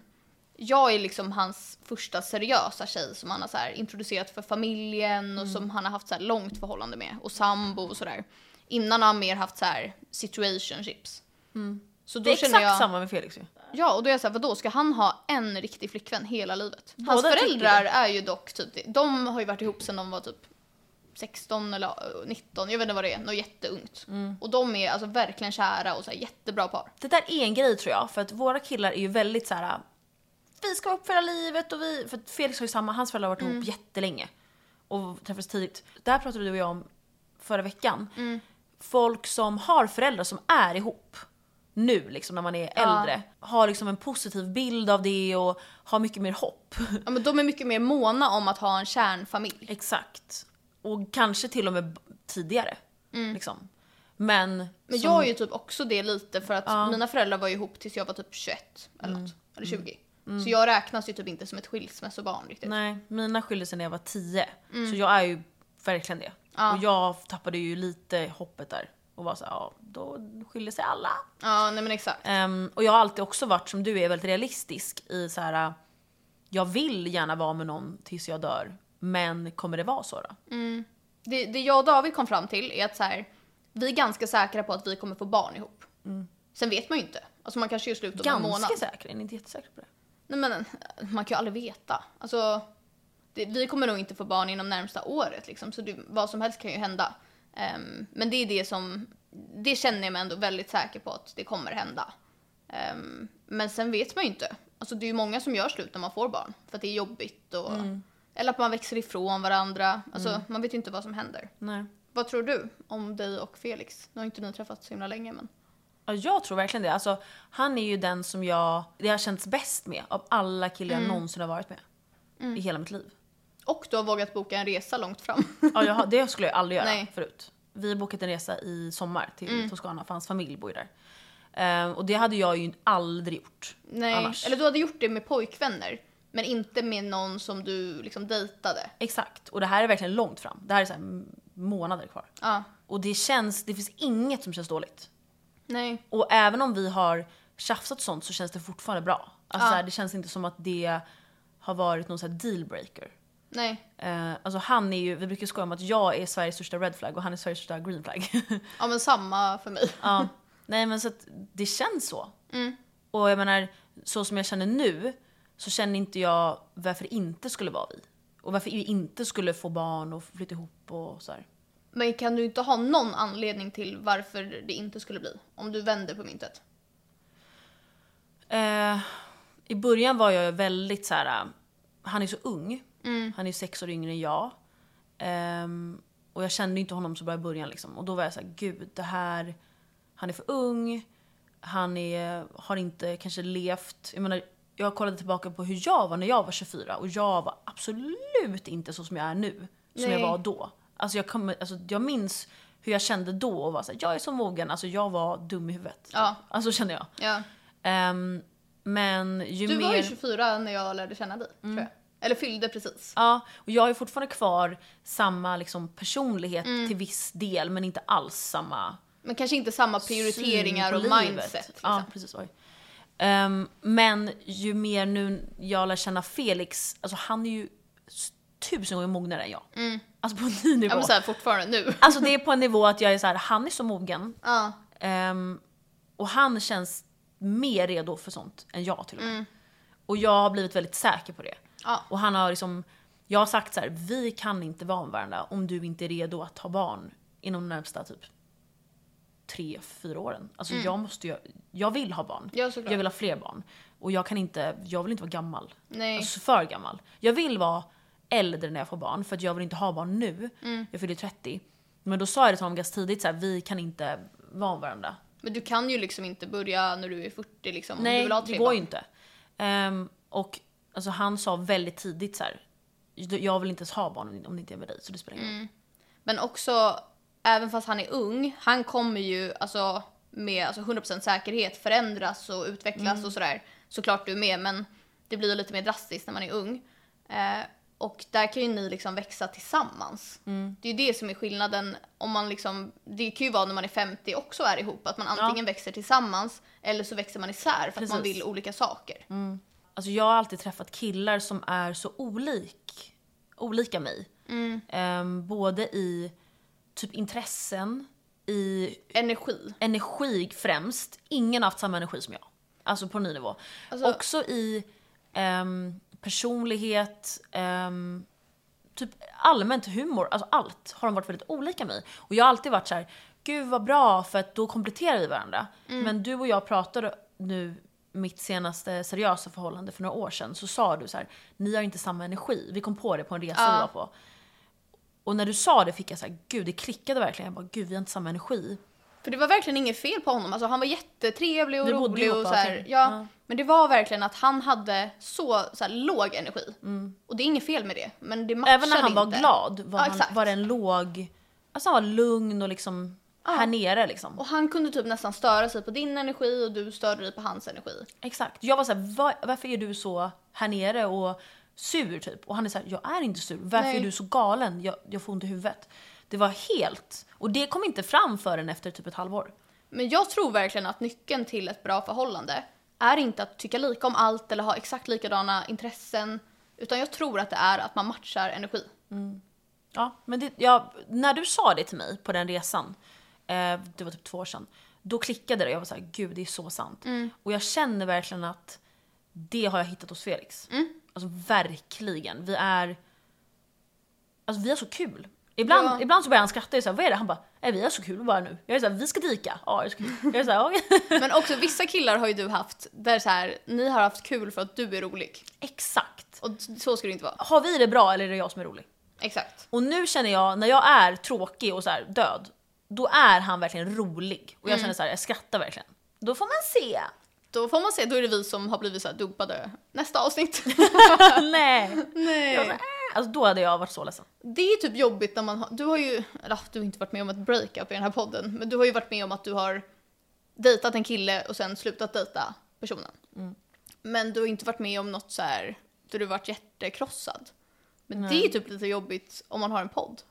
Speaker 1: jag är liksom hans första seriösa tjej som han har så här, introducerat för familjen
Speaker 2: Mm.
Speaker 1: och som han har haft så här, långt förhållande med. Och sambo och sådär. Innan har han mer haft så här situationships. Så då
Speaker 2: Mm. Det är
Speaker 1: känner
Speaker 2: exakt
Speaker 1: jag,
Speaker 2: samma med Felix ju.
Speaker 1: Ja, och då är jag såhär, vadå ska han ha en riktig flickvän hela livet? Hans
Speaker 2: Båda
Speaker 1: föräldrar
Speaker 2: tycker
Speaker 1: är ju dock typ, de har ju varit ihop sedan de var typ 16 eller eh, 19, jag vet inte vad det är, något jätteungt.
Speaker 2: Mm.
Speaker 1: Och de är alltså verkligen kära och så här, jättebra par.
Speaker 2: Det där är en grej tror jag, för att våra killar är ju väldigt så här. Vi ska uppföra livet och vi... För att Felix har ju samma, hans föräldrar har varit ihop jättelänge. Och träffades tidigt. Det här pratade du och jag om förra veckan. Folk som har föräldrar som är ihop nu liksom när man är äldre. Har liksom en positiv bild av det och har mycket mer hopp.
Speaker 1: Ja, men de är mycket mer måna om att ha en kärnfamilj.
Speaker 2: Exakt. Och kanske till och med b- tidigare. Liksom. Men,
Speaker 1: Men
Speaker 2: som-
Speaker 1: jag är ju typ också det lite för att mina föräldrar var ju ihop tills jag var typ 21 eller
Speaker 2: Mm.
Speaker 1: något, eller 20. Så jag räknas ju typ inte som ett skilsmässobarn riktigt.
Speaker 2: Nej, mina skilde sig när jag var 10. Så jag är ju verkligen det.
Speaker 1: Mm. Ja.
Speaker 2: Och jag tappade ju lite hoppet där. Och var såhär, ja då skiljer sig alla.
Speaker 1: Ja, nej men exakt.
Speaker 2: Ehm, och jag har alltid också varit som du är väldigt realistisk i så här. jag vill gärna vara med någon tills jag dör. Men kommer det vara så då?
Speaker 1: det, det jag och David kom fram till är att så här, vi är ganska säkra på att vi kommer få barn ihop. Sen vet man ju inte. Alltså man kanske gör slut om en
Speaker 2: Ganska
Speaker 1: månad.
Speaker 2: säker, jag är inte jättesäker på det.
Speaker 1: Nej, men, man kan ju aldrig veta. Alltså, det, vi kommer nog inte få barn inom närmsta året liksom, så det, vad som helst kan ju hända. Ehm, men det är det som, det känner jag mig ändå väldigt säker på att det kommer hända. Ehm, men sen vet man ju inte. Alltså det är ju många som gör slut när man får barn, för att det är jobbigt och, eller att man växer ifrån varandra. Alltså man vet ju inte vad som händer.
Speaker 2: Nej.
Speaker 1: Vad tror du om dig och Felix? Nu har inte ni träffats så himla länge men.
Speaker 2: Ja, jag tror verkligen det. Alltså, han är ju den som jag, det har känts bäst med av alla killar
Speaker 1: Mm.
Speaker 2: jag någonsin har varit med. I hela mitt liv.
Speaker 1: Och du har vågat boka en resa långt fram.
Speaker 2: Ja, jag, har- det skulle jag aldrig göra
Speaker 1: Nej. Mm.
Speaker 2: förut. Vi har bokat en resa i sommar till Toscana för hans familj bor ju där. Ehm, och det hade jag ju aldrig gjort
Speaker 1: Nej.
Speaker 2: annars.
Speaker 1: Eller du hade gjort det med pojkvänner. Men inte med någon som du liksom dejtade.
Speaker 2: Exakt, och det här är verkligen långt fram. Det här är så här m- månader kvar.
Speaker 1: Ja.
Speaker 2: Och det känns, det finns inget som känns dåligt.
Speaker 1: Nej.
Speaker 2: Och även om vi har tjafsat och sånt så känns det fortfarande bra. Alltså,
Speaker 1: Ja.
Speaker 2: så här, det känns inte som att det har varit någon så här dealbreaker.
Speaker 1: Nej.
Speaker 2: Eh, alltså han är ju, vi brukar skoja om att jag är Sveriges största red flag och han är Sveriges största green flag.
Speaker 1: Ja men samma för mig. Mm.
Speaker 2: ja. Nej men så att det känns så. Och jag menar, så som jag känner nu så känner inte jag varför det inte skulle vara vi. Och varför vi inte skulle få barn och flytta ihop och så här.
Speaker 1: Men kan du inte ha någon anledning till varför det inte skulle bli? Om du vänder på myntet.
Speaker 2: Eh, I början var jag väldigt så här. eh, han är så ung.
Speaker 1: Mm.
Speaker 2: Han är sex år yngre än jag. Ehm, och jag kände ju inte honom så bra i början liksom. Och då var jag så här, gud det här, han är för ung. Han är, har inte kanske levt, jag menar jag kollade tillbaka på hur jag var när jag var 24 och jag var absolut inte så som jag är nu. Som
Speaker 1: Nej.
Speaker 2: jag var då. Alltså jag, kommer, alltså jag minns hur jag kände då och var såhär, jag är så mogen, alltså jag var dum i huvudet.
Speaker 1: Ja.
Speaker 2: Alltså kände jag.
Speaker 1: Ja.
Speaker 2: Ehm, men ju
Speaker 1: Du
Speaker 2: mer... Mm.
Speaker 1: var ju 24 när jag lärde känna dig tror jag. Eller fyllde precis.
Speaker 2: Ja, och jag har ju fortfarande kvar samma liksom, personlighet
Speaker 1: Mm.
Speaker 2: till viss del men inte alls samma
Speaker 1: Men kanske inte samma prioriteringar och mindset. Liksom.
Speaker 2: Ja, precis. Oj. Ehm, men ju mer nu jag lär känna Felix, alltså han är ju s- tusen gånger mognare än jag. Alltså på en ny nivå.
Speaker 1: Mm. Ja men såhär fortfarande nu.
Speaker 2: Alltså det är på en nivå att jag är så här, han är så mogen.
Speaker 1: Ja.
Speaker 2: Ehm, och han känns mer redo för sånt än jag till och
Speaker 1: Mm.
Speaker 2: med. Och jag har blivit väldigt säker på det.
Speaker 1: Ja.
Speaker 2: Och han har liksom, jag har sagt så här: vi kan inte vara med varandra om du inte är redo att ha barn inom de närmsta typ tre, fyra åren. Alltså jag måste ju, jag vill ha barn.
Speaker 1: Mm. Ja, såklart.
Speaker 2: jag vill ha fler barn. Och jag kan inte, jag vill inte vara gammal.
Speaker 1: Nej.
Speaker 2: Alltså för gammal. Jag vill vara äldre när jag får barn för att jag vill inte ha barn nu.
Speaker 1: Mm.
Speaker 2: Jag fyller 30. Men då sa jag det till honom ganska tidigt så här, vi kan inte vara med varandra.
Speaker 1: Men du kan ju liksom inte börja när du är 40 liksom. om du
Speaker 2: Nej,
Speaker 1: vill ha
Speaker 2: det
Speaker 1: tre
Speaker 2: går
Speaker 1: barn.
Speaker 2: ju inte. Ehm, och alltså, han sa väldigt tidigt så här. jag vill inte ens ha barn om det inte är med dig så det spelar ingen
Speaker 1: Mm.
Speaker 2: roll.
Speaker 1: Men också, även fast han är ung, han kommer ju alltså, med alltså, 100% säkerhet förändras och
Speaker 2: Mm.
Speaker 1: utvecklas och sådär. Såklart du med, men det blir ju lite mer drastiskt när man är ung. Eh, Och där kan ju ni liksom växa tillsammans.
Speaker 2: Mm.
Speaker 1: Det är ju det som är skillnaden. Om man liksom, det kan ju vara när man är 50 också är ihop, att man antingen växer tillsammans eller så växer man isär för att man
Speaker 2: Precis.
Speaker 1: vill olika saker.
Speaker 2: Alltså jag har alltid träffat killar som är så olik, olika mig.
Speaker 1: Mm.
Speaker 2: Ehm, både i typ intressen, i
Speaker 1: Energi.
Speaker 2: energi främst. Ingen har haft samma energi som jag. Alltså på ny nivå.
Speaker 1: Alltså-
Speaker 2: Också i ehm, personlighet, ehm, typ allmänt humor, alltså allt har de varit väldigt olika mig. Och jag har alltid varit så här: gud vad bra för att då kompletterar vi varandra. Men du och jag pratade nu, mitt senaste seriösa förhållande för några år sedan, så sa du så här: ni har inte samma energi. Vi kom på det på en resa vi var på. Och när du sa det fick jag så här, gud det klickade verkligen. Jag bara, gud vi har inte samma energi.
Speaker 1: För det var verkligen inget fel på honom. Alltså, han var jättetrevlig och
Speaker 2: Ni bodde
Speaker 1: rolig.
Speaker 2: ihop,
Speaker 1: Och så
Speaker 2: va,
Speaker 1: här,
Speaker 2: tänker
Speaker 1: ja, Men det var verkligen att han hade så, så här, låg energi. Och det är inget fel med det. Men det matchade
Speaker 2: Mm. Även när han
Speaker 1: inte.
Speaker 2: var glad var,
Speaker 1: Ja, exakt.
Speaker 2: han, var det en låg... Alltså han var lugn och liksom här nere liksom.
Speaker 1: Och han kunde typ nästan störa sig på din energi och du störde dig på hans energi.
Speaker 2: Exakt. Jag var såhär, Va, varför är du så här nere och sur typ? Och han är såhär, jag är inte sur. Varför
Speaker 1: Nej.
Speaker 2: är du så galen? Jag, jag får ont i huvudet. Det var helt... Och det kom inte fram förrän efter typ ett halvår.
Speaker 1: Men jag tror verkligen att nyckeln till ett bra förhållande är inte att tycka lika om allt eller ha exakt likadana intressen. Utan jag tror att det är att man matchar energi.
Speaker 2: Ja, men det, ja, när du sa det till mig på den resan, eh, det var typ två år sedan, då klickade det. Jag var såhär, gud det är så sant. Och jag känner verkligen att det har jag hittat hos Felix. Alltså verkligen. Vi är... Alltså vi har så kul. Ibland,
Speaker 1: Ja.
Speaker 2: ibland så börjar han skratta, jag är såhär, vad är det? Han bara, nej vi har så kul bara nu. Jag är såhär, vi ska dika. Ja, jag ska dika. Jag är såhär, "Okej."
Speaker 1: Men också vissa killar har ju du haft där så här, ni har haft kul för att du är rolig.
Speaker 2: Exakt.
Speaker 1: Och så ska det inte vara.
Speaker 2: Har vi det bra eller är det jag som är rolig?
Speaker 1: Exakt.
Speaker 2: Och nu känner jag, när jag är tråkig och så här död, då är han verkligen rolig. Och jag
Speaker 1: Mm.
Speaker 2: känner så här, jag skrattar verkligen. Då får man se.
Speaker 1: Då får man se, då är det vi som har blivit så här dumpade nästa avsnitt.
Speaker 2: Nej. Jag var så här,
Speaker 1: Nej.
Speaker 2: "Äh." Alltså då hade jag varit så ledsen.
Speaker 1: Det är typ jobbigt när man har, du har ju, eller ah, du har inte varit med om ett breakup i den här podden, men du har ju varit med om att du har dejtat en kille och sen slutat dejta personen.
Speaker 2: Mm.
Speaker 1: Men du har inte varit med om något så här där du varit hjärtekrossad. Men det är typ lite jobbigt om man har en podd.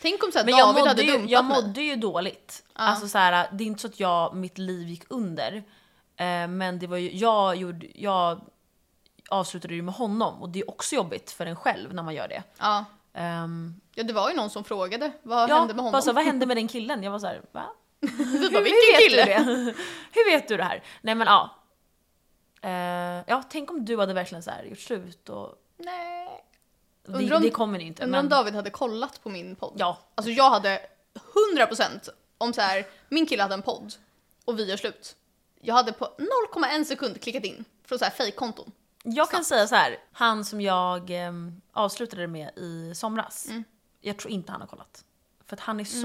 Speaker 1: Tänk om så här,
Speaker 2: Men jag
Speaker 1: David hade
Speaker 2: mådde, ju,
Speaker 1: dumpat
Speaker 2: jag
Speaker 1: mig.
Speaker 2: mådde ju dåligt. Alltså så här, det är inte så att jag, mitt liv gick under. Eh, men det var ju, jag, gjorde, jag avslutade ju med honom och det är också jobbigt för en själv när man gör det.
Speaker 1: Ja.
Speaker 2: Ehm,
Speaker 1: ja, det var ju någon som frågade vad
Speaker 2: ja,
Speaker 1: hände med honom.
Speaker 2: Bara så, här, vad hände med den killen? Jag var så här, va?
Speaker 1: Vi bara,
Speaker 2: Hur
Speaker 1: vilken
Speaker 2: vet
Speaker 1: kille?
Speaker 2: du det? Hur vet du det här? Nej men ja. Eh, ja, tänk om du hade verkligen så här gjort slut och...
Speaker 1: Nej. Undrar
Speaker 2: Det,
Speaker 1: om-
Speaker 2: det kommer ni inte.
Speaker 1: Undrar om
Speaker 2: Men,
Speaker 1: David hade kollat på min podd.
Speaker 2: ja,
Speaker 1: Alltså jag hade 100% om så här, min kille hade en podd och vi gör slut. Jag hade på 0,1 sekund klickat in från så här fejkkonton.
Speaker 2: jag kan säga så här. Han som jag ehm, avslutade det med i somras.
Speaker 1: Mm.
Speaker 2: Jag tror inte han har kollat. För att han är så,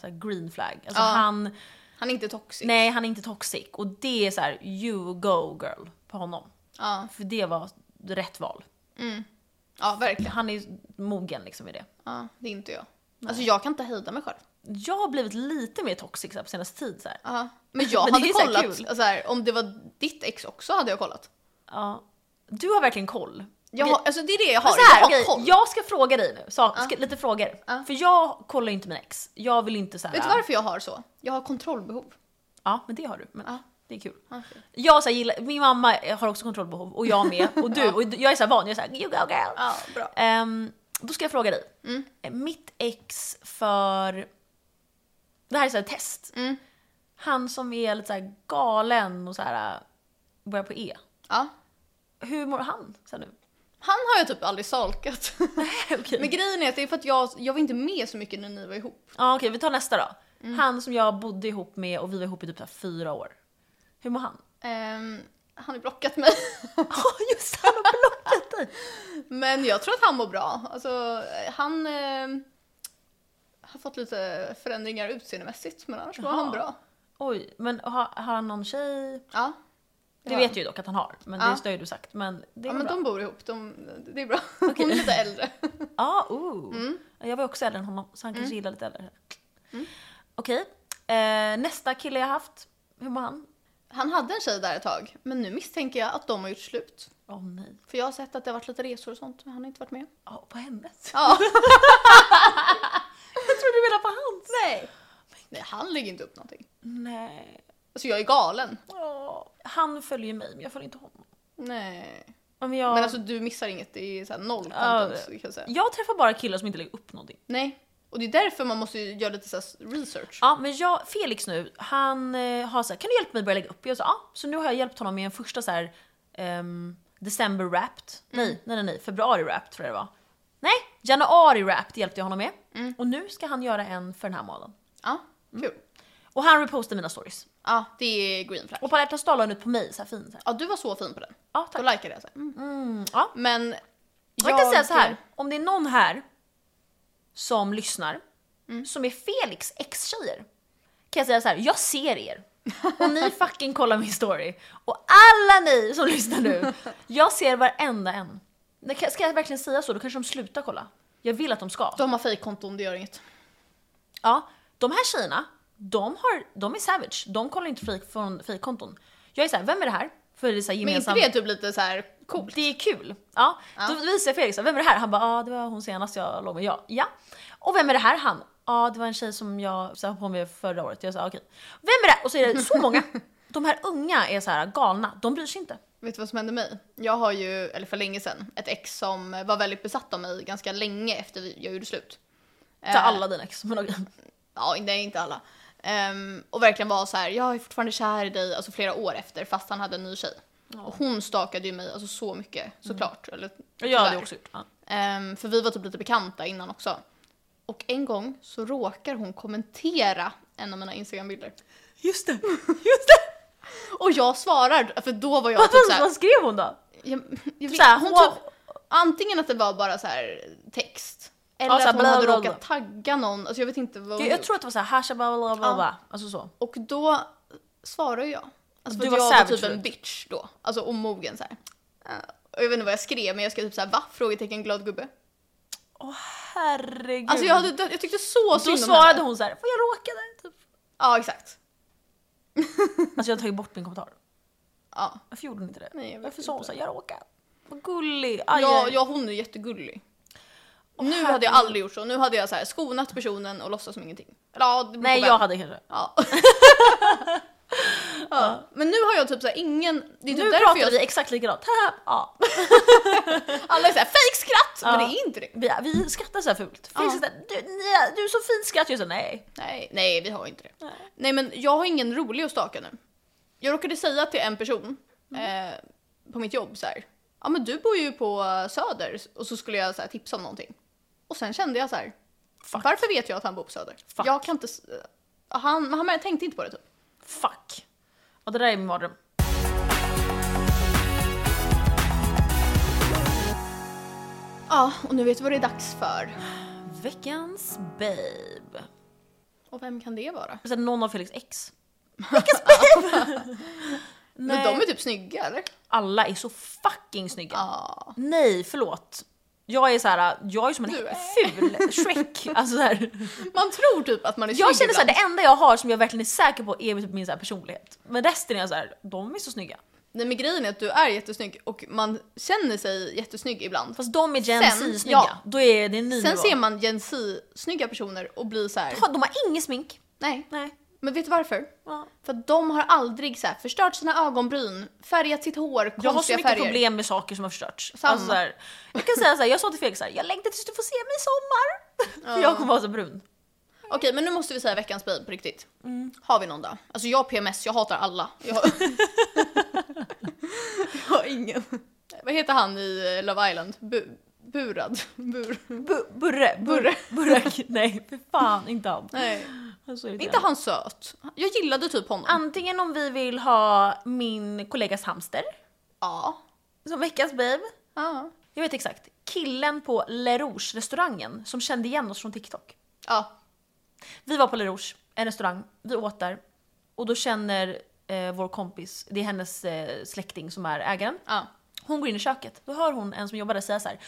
Speaker 2: så här, green flag. Alltså
Speaker 1: Ja.
Speaker 2: han,
Speaker 1: Han är inte toxic.
Speaker 2: nej han är inte toxic. Och det är så här, you go girl på honom.
Speaker 1: Ja,
Speaker 2: För det var rätt val.
Speaker 1: ja verkligen.
Speaker 2: Han är mogen liksom i det.
Speaker 1: Ja, det är inte jag. Alltså jag kan inte hejda mig själv.
Speaker 2: Jag har blivit lite mer toxic så här, på senaste tid. Så här.
Speaker 1: Ja. Men jag
Speaker 2: Men det är
Speaker 1: hade
Speaker 2: så här
Speaker 1: kollat,
Speaker 2: kul.
Speaker 1: så här, om det var ditt ex också hade jag kollat.
Speaker 2: Ja. Du har verkligen koll.
Speaker 1: Jag
Speaker 2: Okej.
Speaker 1: har, alltså det är det jag har,
Speaker 2: Men så här,
Speaker 1: jag har
Speaker 2: okej,
Speaker 1: koll.
Speaker 2: jag ska fråga dig nu, så, ska, lite frågor.
Speaker 1: Ja.
Speaker 2: För jag kollar ju inte mina ex. Jag vill inte såhär...
Speaker 1: Vet du varför jag har så? Jag har kontrollbehov.
Speaker 2: Ja, men det har du. Men Det är kul.
Speaker 1: Okej.
Speaker 2: Jag så här, gillar, min mamma har också kontrollbehov och jag med. Och du. Och jag är så här van, jag är såhär you go girl.
Speaker 1: Ja, bra.
Speaker 2: Ehm, då ska jag fråga dig.
Speaker 1: Mm,
Speaker 2: Mitt ex för... Det här är så här ett test.
Speaker 1: Mm.
Speaker 2: Han som är lite såhär galen och såhär börjar på E.
Speaker 1: Ja.
Speaker 2: Hur mår han sen nu?
Speaker 1: Han har jag typ aldrig solkat.
Speaker 2: Okej.
Speaker 1: Men grejen är att det är för att jag, jag var inte med så mycket när ni var ihop.
Speaker 2: Ja okej, vi tar nästa då. Han som jag bodde ihop med och vi var ihop i typ så här fyra år. Hur mår han?
Speaker 1: Ehm, han har blockat mig.
Speaker 2: Ja just det, han har blockat dig!
Speaker 1: Men jag tror att han mår bra. Alltså, eh, han ehm, har fått lite förändringar utseendemässigt men annars mår
Speaker 2: Jaha.
Speaker 1: han bra.
Speaker 2: Oj, men har, har han någon tjej?
Speaker 1: Ja.
Speaker 2: Det
Speaker 1: Ja.
Speaker 2: vet jag ju dock att han har, men
Speaker 1: Ja.
Speaker 2: det har ju du sagt. Men det är
Speaker 1: Ja
Speaker 2: ja,
Speaker 1: men
Speaker 2: bra.
Speaker 1: de bor ihop, de, det är bra. Hon är lite äldre.
Speaker 2: Ja, oh.
Speaker 1: Mm.
Speaker 2: Jag var ju också äldre än honom, så han kanske gillar lite äldre. Okej, eh, nästa kille jag haft, hur mår han?
Speaker 1: Han hade en tjej där ett tag men nu misstänker jag att de har gjort slut.
Speaker 2: Åh nej.
Speaker 1: För jag har sett att det har varit lite resor och sånt, men han har inte varit med.
Speaker 2: Ja, på hennes?
Speaker 1: Ja.
Speaker 2: Jag trodde du menade på hans.
Speaker 1: Nej. Nej, han lägger inte upp någonting.
Speaker 2: Nej.
Speaker 1: Alltså jag är galen.
Speaker 2: Åh. Han följer mig men jag följer inte honom.
Speaker 1: Nej.
Speaker 2: Ja, Men jag,
Speaker 1: Men alltså du missar inget, det är så här noll content kan jag säga.
Speaker 2: jag träffar bara killar som inte lägger upp någonting.
Speaker 1: Nej. Och det är därför man måste ju göra lite så här research.
Speaker 2: Ja, men jag, Felix nu, han eh, har sagt kan du hjälpa mig börja lägga upp? Jag sa ja, så nu har jag hjälpt honom med en första så här ehm, December wrapped. Nej, nej, nej, nej, februari wrapped tror jag det var. Nej, januari wrapped hjälpte jag honom med. Och nu ska han göra en för den här månaden.
Speaker 1: Ja,
Speaker 2: Mm.
Speaker 1: kul.
Speaker 2: Och han repostar mina stories.
Speaker 1: Ja, det är green flag.
Speaker 2: Och på alla hjärtans dag la han ut på mig så här fin. Så här.
Speaker 1: Ja, du var så fin på den.
Speaker 2: Ja,
Speaker 1: Då
Speaker 2: tack.
Speaker 1: likade jag. Så här. Mm.
Speaker 2: Mm, ja.
Speaker 1: Men
Speaker 2: Jag, kan säga så här, om det är någon här som lyssnar
Speaker 1: Mm.
Speaker 2: som är Felix ex-tjejer kan jag säga så här, jag ser er. Och ni fucking kollar min story. Och alla ni som lyssnar nu, jag ser varenda en. Men kan- Ska jag verkligen säga så, då kanske de slutar kolla. Jag vill att de ska.
Speaker 1: De har fejkkonton, det gör inget.
Speaker 2: Ja, de här tjejerna, de, har, de är savage. De kollar inte fake från fejkkonton. Jag är så här, vem är det här? För det är så här
Speaker 1: Men inte
Speaker 2: gemensam...
Speaker 1: det är typ lite så här coolt?
Speaker 2: Det är kul. Ja. Då visar jag Felix, vem är det här? Han bara, ja ah, det var hon senast jag låg med. Ja. ja. Och vem är det här han? Ja ah, det var en tjej som jag sa på med förra året. Jag sa okej. Vem är det? här?" Och så är det så många. De här unga är så här galna, de bryr sig inte.
Speaker 1: Vet du vad som hände mig? Jag har ju, eller för länge sedan, ett ex som var väldigt besatt av mig ganska länge efter vi- jag gjorde slut. Eh,
Speaker 2: Ta alla dina ex. men okej.
Speaker 1: Ja, nej inte alla. Ehm, och verkligen var så här, jag är fortfarande kär i dig, alltså flera år efter, fast han hade en ny tjej. Och hon stakade ju mig alltså så mycket, såklart.
Speaker 2: Mm.
Speaker 1: Eller,
Speaker 2: Jag hade
Speaker 1: tyvärr.
Speaker 2: också gjort. Ja.
Speaker 1: Ehm, för vi var typ lite bekanta innan också. Och en gång så råkar hon kommentera en av mina Instagram-bilder.
Speaker 2: Just det, just det!
Speaker 1: Och jag svarar, för då var jag
Speaker 2: Vad,
Speaker 1: typ såhär...
Speaker 2: vad skrev hon då?
Speaker 1: Jag, jag vet,
Speaker 2: så här,
Speaker 1: hon
Speaker 2: wow.
Speaker 1: typ, antingen att det var bara så här text, eller
Speaker 2: Ja, så här,
Speaker 1: att hon
Speaker 2: bla,
Speaker 1: hade
Speaker 2: bla, bla.
Speaker 1: råkat tagga någon. Alltså jag vet inte vad
Speaker 2: Jag,
Speaker 1: hon
Speaker 2: jag
Speaker 1: gjort.
Speaker 2: tror att det var så här, hasha bla bla bla,
Speaker 1: Ja.
Speaker 2: bla. Alltså så.
Speaker 1: Och då svarar jag. Alltså
Speaker 2: Du
Speaker 1: för att
Speaker 2: var
Speaker 1: jag var
Speaker 2: savage
Speaker 1: typ en
Speaker 2: förut.
Speaker 1: bitch då. Alltså omogen så här. Eh, Och jag vet inte vad jag skrev men jag skrev typ såhär va? Frågetecken glad gubbe.
Speaker 2: Åh herregud.
Speaker 1: Alltså jag, hade, dö- jag tyckte så synd
Speaker 2: Då
Speaker 1: om
Speaker 2: svarade
Speaker 1: henne.
Speaker 2: hon så här, för jag råkade. Typ.
Speaker 1: Ja exakt.
Speaker 2: Alltså jag har tagit bort min kommentar.
Speaker 1: Ja.
Speaker 2: Varför gjorde hon inte det?
Speaker 1: Nej, jag vet
Speaker 2: Varför sa hon
Speaker 1: inte.
Speaker 2: såhär, jag råkade? Vad gullig. Aj,
Speaker 1: Ja,
Speaker 2: aj.
Speaker 1: ja hon är jättegullig. nu
Speaker 2: herregud.
Speaker 1: hade jag aldrig gjort så. Nu hade jag så här skonat personen och låtsas som ingenting. Eller, ja, det beror på
Speaker 2: Nej
Speaker 1: vem.
Speaker 2: jag hade kanske.
Speaker 1: Ja. ja. Men nu har jag typ såhär ingen... Det är typ
Speaker 2: Nu
Speaker 1: därför
Speaker 2: pratar
Speaker 1: jag...
Speaker 2: vi exakt likadant. Haha, ja.
Speaker 1: Alla är såhär fejkskratt!
Speaker 2: Ja.
Speaker 1: Men det är inte det.
Speaker 2: vi, vi skrattar så här fult.
Speaker 1: Ja.
Speaker 2: Felix är så här, du, ni- du är så fint skratt. Jag sa nej.
Speaker 1: Nej, nej vi har inte det.
Speaker 2: Nej.
Speaker 1: Nej. men jag har ingen rolig att staka nu. Jag råkade säga till en person eh, på mitt jobb så här. Ja men du bor ju på Söder och så skulle jag så här, tipsa om någonting. Och sen kände jag så här.
Speaker 2: Fuck.
Speaker 1: Varför vet jag att han bor på Söder?
Speaker 2: Fuck.
Speaker 1: Jag kan inte... s- Han, han men jag tänkte inte på det typ.
Speaker 2: Fuck. Och det där är min mardröm.
Speaker 1: Ja, och nu vet du vad det är dags för.
Speaker 2: Veckans babe.
Speaker 1: Och vem kan det vara?
Speaker 2: Så här, någon av Felix ex. Veckans babe!
Speaker 1: Men
Speaker 2: nej.
Speaker 1: de är typ snygga eller?
Speaker 2: Alla är så fucking snygga.
Speaker 1: Ja.
Speaker 2: Nej förlåt. Jag är så här, jag är som en
Speaker 1: Du är-
Speaker 2: ful Shrek. Alltså så här.
Speaker 1: Man tror typ att man är
Speaker 2: Jag
Speaker 1: snygg
Speaker 2: känner såhär,
Speaker 1: ibland.
Speaker 2: det enda jag har som jag verkligen är säker på är typ min så här personlighet. Men resten är jag såhär, de är så snygga.
Speaker 1: Nej men grejen är att du är jättesnygg och man känner sig jättesnygg ibland.
Speaker 2: Fast de är Gen
Speaker 1: Sen,
Speaker 2: Z-snygga.
Speaker 1: ja.
Speaker 2: Då är det en ny
Speaker 1: Sen
Speaker 2: nivå.
Speaker 1: ser man Gen Z-snygga personer och blir så här.
Speaker 2: Ha, De har inget smink.
Speaker 1: nej.
Speaker 2: Nej.
Speaker 1: Men vet du varför?
Speaker 2: Ja.
Speaker 1: För att de har aldrig så här, förstört sina ögonbryn, färgat sitt hår,
Speaker 2: Jag har så
Speaker 1: konstiga
Speaker 2: mycket
Speaker 1: färger.
Speaker 2: problem med saker som har förstörts.
Speaker 1: Samma.
Speaker 2: Alltså, så här, jag kan säga såhär, jag sa till Felix såhär, jag längtar tills du får se mig i sommar. För jag kommer vara så brun.
Speaker 1: Okej men nu måste vi säga veckans babe på riktigt.
Speaker 2: Mm.
Speaker 1: Har vi någon då? Alltså jag har PMS, jag hatar alla. Jag, jag har ingen. Vad heter han i eh, Love Island? Bu- burad? Bur.
Speaker 2: Bu- burre. Burre.
Speaker 1: Burre.
Speaker 2: Burre. Nej, för fan inte han.
Speaker 1: Nej.
Speaker 2: Han är så irriterande.
Speaker 1: Inte han söt? Jag gillade typ honom.
Speaker 2: Antingen om vi vill ha min kollegas hamster Ah.
Speaker 1: ja.
Speaker 2: som veckans babe.
Speaker 1: Ja.
Speaker 2: Jag vet exakt. Killen på Le Rouge restaurangen som kände igen oss från TikTok.
Speaker 1: Ja.
Speaker 2: Vi var på Le Rouge, en restaurang, vi åt där. Och då känner eh, vår kompis, det är hennes eh, släkting som är ägaren.
Speaker 1: ja.
Speaker 2: Hon går in i köket, då hör hon en som jobbar där säga så här.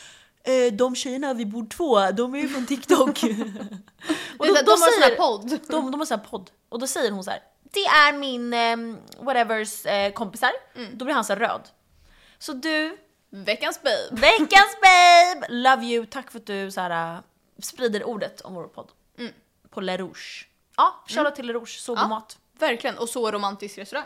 Speaker 2: "Eh, De tjejerna vid bord två, de är ju från TikTok. och
Speaker 1: det,
Speaker 2: då,
Speaker 1: är så
Speaker 2: då
Speaker 1: här, de har en sån här
Speaker 2: säger,
Speaker 1: podd.
Speaker 2: de, de har sån här podd och då säger hon så här. Det ehm,
Speaker 1: Mm.
Speaker 2: är min eh, whatevers eh, kompisar. Då blir han så här röd. Så du,
Speaker 1: Veckans babe.
Speaker 2: Veckans babe! Love you, tack för att du så här, äh, sprider ordet om vår podd.
Speaker 1: Mm.
Speaker 2: På La Rouge. Ja, shoutout till La Rouge, så god
Speaker 1: Ja.
Speaker 2: mat.
Speaker 1: Verkligen, och så romantisk restaurang.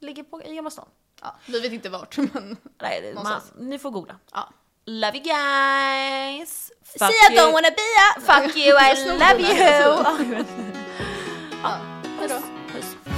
Speaker 2: Ligger på, i Gamla stan.
Speaker 1: Ja, vi vet inte vart, men
Speaker 2: Nej, det- man,
Speaker 1: Någonstans.
Speaker 2: ni får googla.
Speaker 1: ja.
Speaker 2: Love you guys! Fuck
Speaker 1: See, I don't
Speaker 2: you!
Speaker 1: wanna be a...
Speaker 2: Fuck you, I
Speaker 1: Jag snor
Speaker 2: love
Speaker 1: den här.
Speaker 2: you!
Speaker 1: Ja, hejdå.
Speaker 2: Puss.